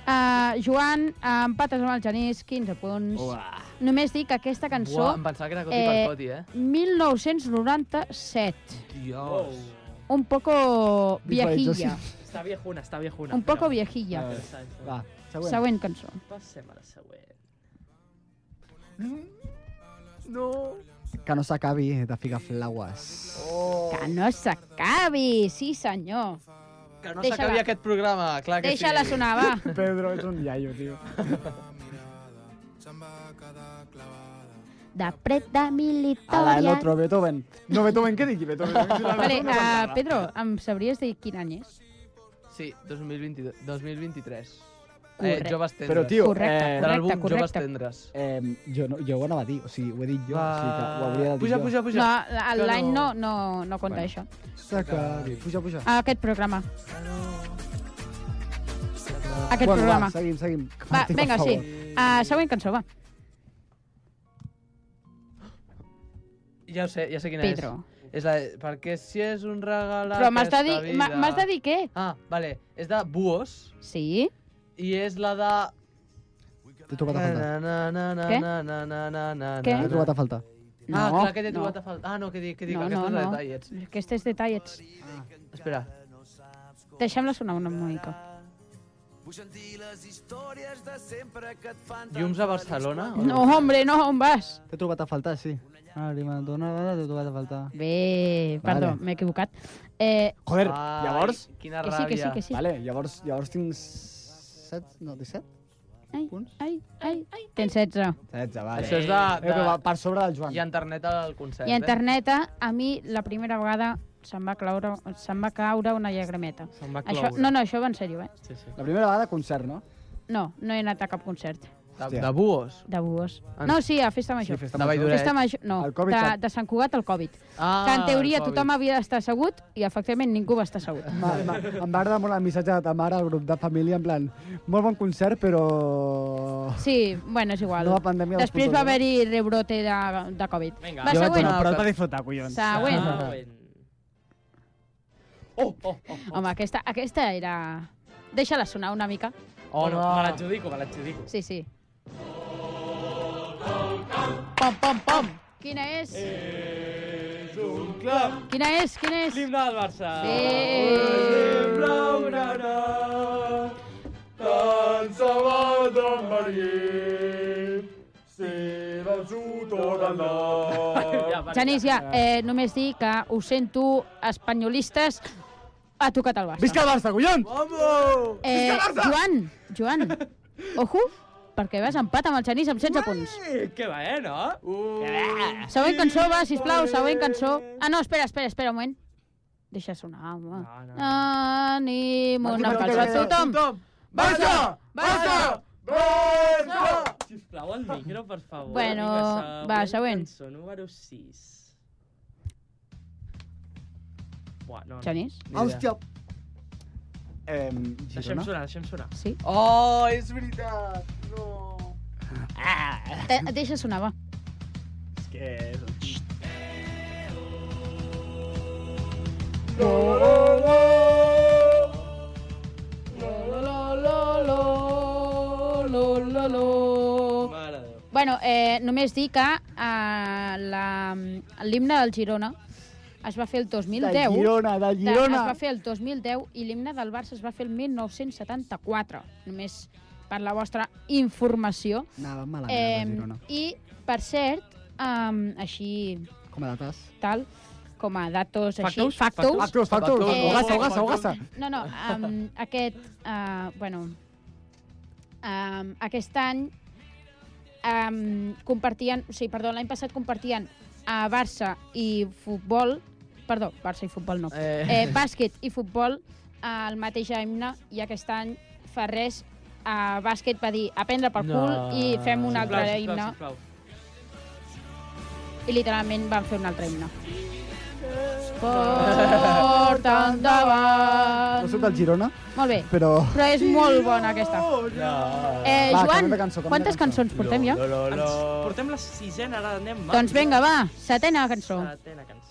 Uh, Joan, empates amb el Genís, 15 punts. Uah. Només dic que aquesta cançó... Buah, em pensava que era coti eh, per coti, eh? 1997. Oh. Dios. Un poco viejilla. Diferent, Està viejuna, està viejuna. Un poco però- viejilla. Ah, Està viejuna. Va, següent. Següent cançó. Passem a la següent. Que no s'acabi de ficar flaues. Que no s'acabi, sí senyor. Que no Deixa-la. s'acabi aquest programa, clar que Deixa-la sí. sonar, va. Pedro és un iaio, tio. De pret de Ala, el militòria. otro Beethoven. No, Beethoven, què digui? Beethoven. Vale, uh, Pedro, em sabries dir quin any és? Sí, 2022, 2023. Eh, Correcte. joves tendres. Però, tio, Correcte. de eh, l'àlbum correcte, Joves correcte. Tendres. eh, jo, no, jo ho anava a dir, o sigui, ho he dit jo, o sigui que ho Va. hauria de dir Puja, jo. puja, puja. No, el- Que l'any no, no. no, no compta Bueno. això. S'acabi. Puja, puja. Aquest programa. Aquest bueno, programa. va, seguim, seguim. Va, Martí, per vinga, sí. favor. Uh, següent cançó, va. Ja ho sé, ja sé quina Pedro. és. És la de... Perquè si és un regal Però m'has de, aquesta dir, vida... m'ha- m'has de dir què? Ah, vale. És de Buos Sí? i és la de... T'he trobat a faltar. Què? Què? T'he trobat a faltar. Ah, No, clar, que t'he no. trobat a faltar. Ah, no, que dic, que dic, No, aquesta no, és la no. de Tallets. Aquestes detallets. Espera. Deixem-la sonar una mica. Llums a Barcelona? o No, hombre, no, on vas? T'he trobat a faltar, sí. Ah, li m'ha donat, t'he trobat a faltar. Bé, perdó, Vale. m'he equivocat. Eh, Joder, Ai, llavors... Quina que ràbia. sí, que sí, que sí. Vale, llavors, llavors tinc... 7, no, 17? Ai, punts? ai, ai, ai. Tens 16. 16, vale. Això és de... Eh, però va, de... per sobre del Joan. I internet al concert, eh? I interneta, a mi la primera vegada se'm va, claure, se'm va caure una llagrimeta. Se'm va Això, cloure. no, no, això va en sèrio, eh? Sí, sí. La primera vegada concert, no? No, no he anat a cap concert. De, Hòstia. de buos. de buos. Ens- No, sí, a Festa Major. Sí, festa De major. Valldoreix. Festa Major, no, El Covid de, s'ha- de Sant Cugat al Covid. Ah, que en teoria el Covid. tothom havia d'estar assegut i efectivament ningú va estar assegut. Ma, ma, em va agradar molt el missatge de ta mare al grup de família, en plan, molt bon concert, però... Sí, bueno, és igual. Nova pandèmia dos Després punto va dos. haver-hi rebrote de, de Covid. Vinga. Va, Jo vaig següent. anar, però és per disfrutar, collons. Següent. Ah. Oh, oh, oh. Home, aquesta, aquesta era... Deixa-la sonar una mica. Oh, Bueno, me no. l'adjudico, me l'adjudico. Sí, sí. Pom, pom, pom! Quina és? És un clap. Quina és? Quina és? Eh. L'himne del Barça. Sí. Blau, grana, tant se va d'on venir, si del sud o del nord. Genís, ja, eh, només dir que ho sento, espanyolistes, ha tocat el Barça. Visca el Barça, collons! Vamos! eh, Joan, Joan, ojo, perquè vas empat amb el Genís amb 16 punts. Que bé, no? Uh. Següent cançó, va, sisplau, següent cançó. Ah, no, espera, espera, espera un moment. Deixa sonar, home. No, no, no. Ànim, una Martí, cançó a Martí, tothom. Barça! Barça! Barça! Sisplau, el micro, per favor. Bueno, va, següent. Cançó número 6. Buah, no, no. Genís? Hòstia! Eh, Deixem Girona? sonar, deixem sonar. Sí? Oh, és veritat! No! Ah. Te, deixa sonar, va. És que... Mare de Déu. Bueno, eh, només dir que eh, la- l'himne del Girona es va fer el 2010. De Girona, de De- Girona! Es va fer el 2010 i l'himne del Barça es va fer el 1974. Només per la vostra informació. Anava Eh, malament, de Girona. I, per cert, um, així Com a dates? tal, com a datos Factors? així... Factors? Factors? Factors, factors! Factors. Eh, Ogassa, ogassa, ogassa! No, no, um, aquest... Uh, bueno, um, aquest any um, compartien... O sigui, perdó, l'any passat compartien a Barça i futbol... Perdó, Barça i futbol no. Eh, Eh, eh bàsquet i futbol eh, el mateix himne i aquest any fa res a bàsquet va dir a prendre pel No. cul i fem un altre Sisplau, sisplau, himne sisplau. i literalment van fer un altre himne. Esport endavant. No soc del Girona, Molt bé, però... però és molt bona aquesta. no. Eh, Va, Joan, canviem de cançó, canviem quantes de cançó. cançons portem ja? Lo, lo, Ens lo. portem la sisena, ara anem... a- Doncs vinga, va, setena cançó. Setena cançó.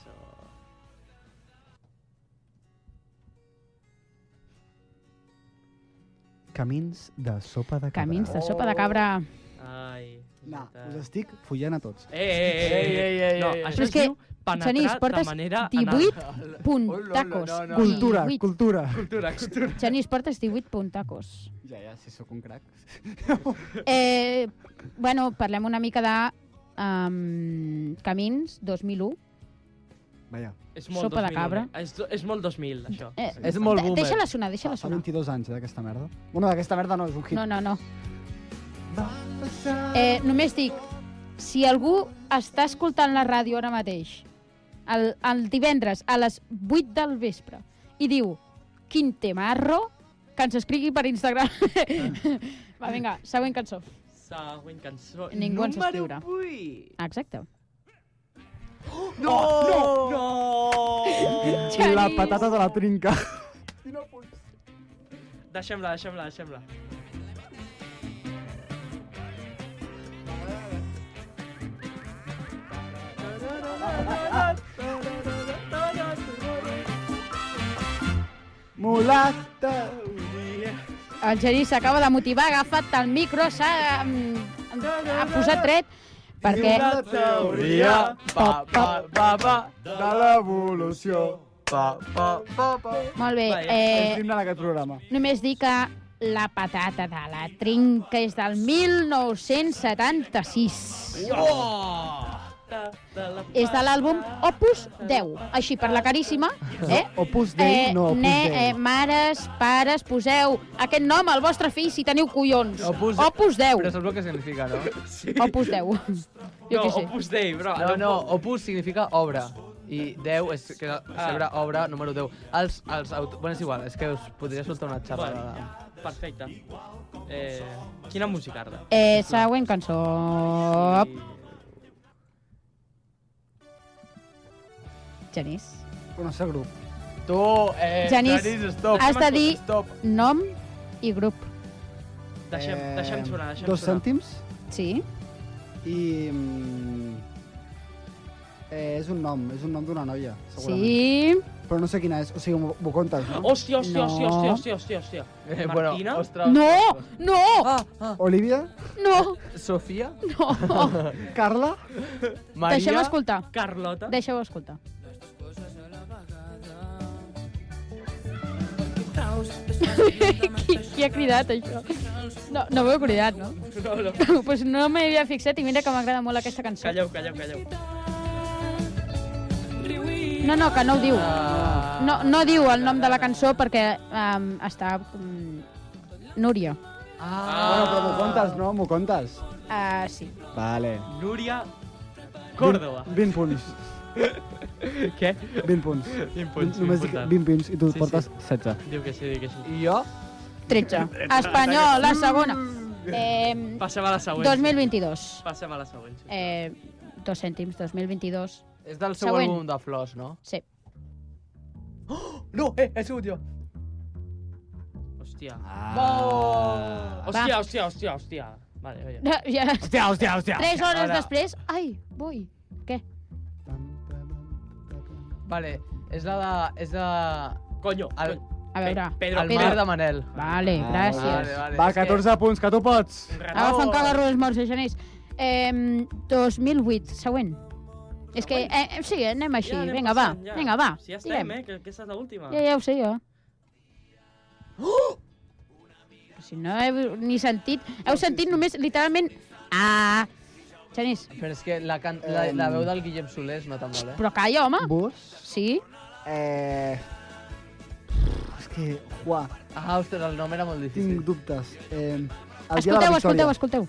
Camins de sopa de cabra. Camins de sopa de cabra. Ai... No, veritat. Eh, us estic follant a tots. Ei, ei, ei, ei, ei, ei, no, ei, ei. això Però es és que, diu penetrar Genís, de portes manera... 18 anal. puntacos. No, no, no. Cultura, 18. cultura. Cultura, cultura. Genís, portes 18 puntacos. Ja, ja, si sóc un crac. Eh, bueno, parlem una mica de um, Camins 2001. Vaja, És molt Sopa de 2000, cabra. eh? És, és molt 2000, això. Eh, És molt de- boomer. Ah, Deixa-la sonar, fa, deixa-la fa sonar. 22 anys eh, d'aquesta merda. Bueno, d'aquesta merda no, és un hit. No, no, no. no. Eh, només dic, si algú està escoltant la ràdio ara mateix, el, el divendres a les 8 del vespre, i diu, quin temarro, que ens escrigui per Instagram. Ah. Va, vinga, següent cançó. Següent cançó. Ningú ens número escriurà. 8. Ah, Exacte. No! No! No! La Genís. patata de la trinca. Deixem-la, deixem-la, deixem-la. Mulata. El Genís s'acaba de motivar, ha agafat el micro, s'ha mm, ha posat dret, perquè... Una Teoria, pa, pa, pa, pa, de l'evolució. pa, pa, pa, pa. Molt bé. Vaja, És Eh, l'himne d'aquest programa. només dir que la patata de la trinca és del 1976. És de l'àlbum Opus 10. Així, per la caríssima, eh? Opus Dei, no, Opus ne, Dei. eh, mares, pares, poseu aquest nom al vostre fill si teniu collons. Opus- Opus 10. Però saps el que significa, no? Opus 10. Jo No, què sé. Opus Dei, bro. No, no, opus significa obra. I 10 és que Ah. sobre obra número 10. Els, els aut... Bueno, és igual, és que us podria soltar una xerrada. Perfecte. Eh, quina música, Arda? Eh, següent cançó. Genís. Bueno, ser grup. Tu, eh, Genís, Genís, stop. has de dir- Stop. Nom i grup. Deixem, Eh, deixem sonar, deixem Dos sonar. cèntims Sí? i... mm, Eh, és un nom, és un nom d'una noia, segurament. Sí? Sí. Però no sé quina és, o sigui, m'ho- m'ho contes, no? Hòstia, hòstia, hòstia, No. hòstia, hòstia, hòstia, hòstia. Eh, bueno, Martina? ostres. No! No! Ah, ah. Olivia, No! Sofia? No! Carla, Maria? Deixeu escoltar. Carlota? Deixeu escoltar. qui, qui ha cridat això? No, no m'ho he cridat, no? No, no. Doncs pues no m'hi havia fixat i mira que m'agrada molt aquesta cançó. Calleu, calleu, calleu. No, no, que no ho diu. Ah. No, no diu el nom de la cançó perquè um, està... Um, Núria. Ah. Ah. Bueno, però m'ho contes, no? M'ho contes. Uh, sí. Vale. Núria Córdoba. 20 punts. Què? 20 punts. Impuls, Només dic 20 punts i tu Sí, portes 16. Diu que sí, diu que sí. I jo? 13. Espanyol, la segona. Eh, Passem a la següent. 2022. Passem a la següent. sí. Eh, dos cèntims, 2022. És del seu Següent. àlbum de flors, no? Sí. No, eh, he sigut jo. Hòstia. Oh! Hòstia, hòstia, hòstia, hòstia. Vale, oye. No, ja, Hòstia, hòstia, hòstia. tres hores ara. després... Ai, vull. Què? Vale, és la de... És la... Coño, El, coño. A veure. Pe- Ah, Pedro el Pedro. mar de Manel. Vale, gràcies. Vale, vale. Va, és que- 14 punts, que tu pots. Agafa un cagarro dels morts, eh, Genís. Eh, 2008, següent. És que, eh, eh, sí, anem així. anem vinga, va, passant, ja. vinga, va. Si ja tirem. estem, eh, que aquesta és l'última. Ja, ja ho sé jo. Però Si no heu ni sentit... Heu sentit només, literalment... Ah! Genís, Però és que la, can... la, la veu del Guillem Soler es nota molt, eh? però calla, home. Bus. Sí? Eh... És que, uà, Ah, ostres, el nom era molt tinc difícil. dubtes. Eh, el dia de Escolteu, la escolteu, victòria. escolteu.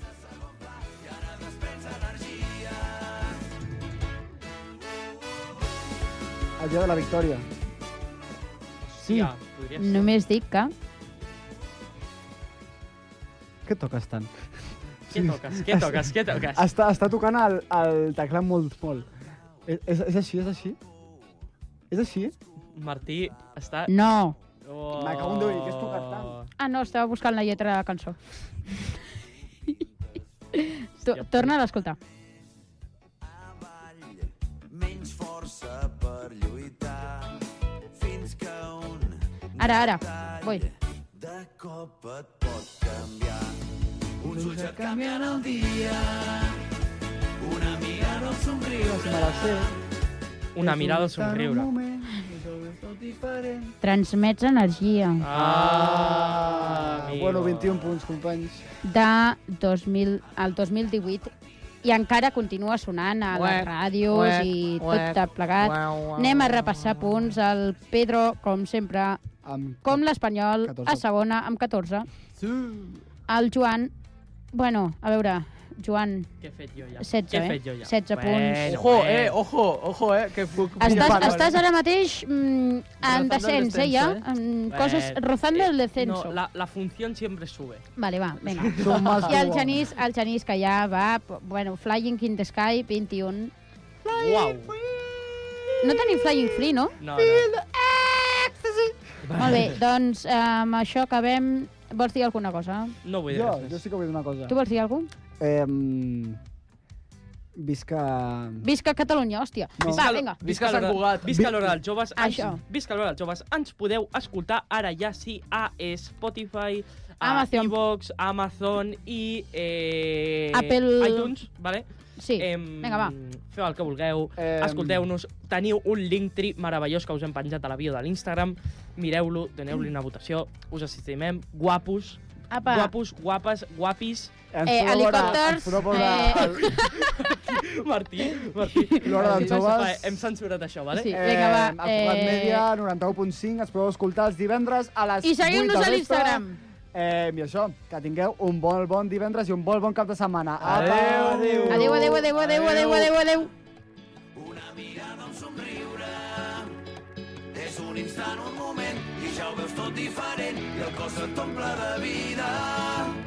El dia de la victòria. Sí. Ja, podria ser. Només dic que... Què toques tant? Què toques, què toques, què toques? Està, està tocant el, el teclat molt, molt. És, és, és així, és així? És així? Martí està... No. Oh. Me cago en Déu, i què has tocat tant? Ah, no, estava buscant la lletra de la cançó. Tu- Hòstia, Torna a escoltar. menys força per lluitar fins que un Ara, ara. Vull. de cop et pot canviar. Uns ulls et canvien el dia, una mirada al somriure. Me la sé. Una mirada al És un tant somriure. moment, és tot diferent. Transmets energia. Ah, amigo. Bueno, 21 punts, companys. de 2000 al 2018 i encara continua sonant a les Uec, ràdios uec, i uec, tot plegat. uau, uau. Anem a repassar punts. El Pedro, com sempre, Amb... com l'Espanyol, 14. a segona amb 14. El Joan, bueno, a veure, Joan, Què he fet jo ja? 16, Què he eh? fet jo ja? 16 punts. Ojo, eh, ojo, ojo, eh, que puc... Estàs, estás ara mateix mm, en Rozando el descens, eh, ja? descenso, En coses Bueno, rozando el descenso. Eh, No, la, la función siempre sube. Vale, va, vinga. Som más I el duo. Genís, el Genís que ja va, bueno, Flying in the Sky, 21. Wow. No tenim Flying Free, no? No, no. Molt bé, doncs eh, amb això acabem. Vols dir alguna cosa? No voy a Jo, decir jo sí que vull dir una cosa. Tu vols dir alguna cosa? Eh, visca... Visca Catalunya, hòstia. No. Va, vinga. Visca Sant l'hora- Cugat. Visca l'hora dels joves. Ens, Això. visca l'hora dels joves. Ens podeu escoltar ara ja sí a eh, Spotify, a Amazon. iVox, Amazon i... Eh, Apple. iTunes, vale? Sí, Em, vinga, va. Feu el que vulgueu, Em. escolteu-nos. Teniu un Linktree meravellós que us hem penjat a la bio de l'Instagram. Mireu-lo, doneu-li una votació. Us estimem. Guapos. Apa. Guapos, guapes, guapis. Ens Eh, podeu veure- helicòpters, ens podeu veure eh, al- Martí, Martí. L'hora dels Va, joves. eh, Hem censurat això, vale? Sí. Sí. Vinga, va, Eh, a Cugat eh, Mèdia, 91.5. Ens podeu escoltar els divendres a les I seguim-nos 8 a del vespre. l'Instagram. Eh, I això, que tingueu un bon, bon divendres i un bon, bon cap de setmana. Apa! Adéu. Adéu, adéu, adéu, adéu, adéu, adéu, adéu. Una mirada, un somriure, és un instant, un moment, i ja ho veus tot diferent, i el cos et omple de vida.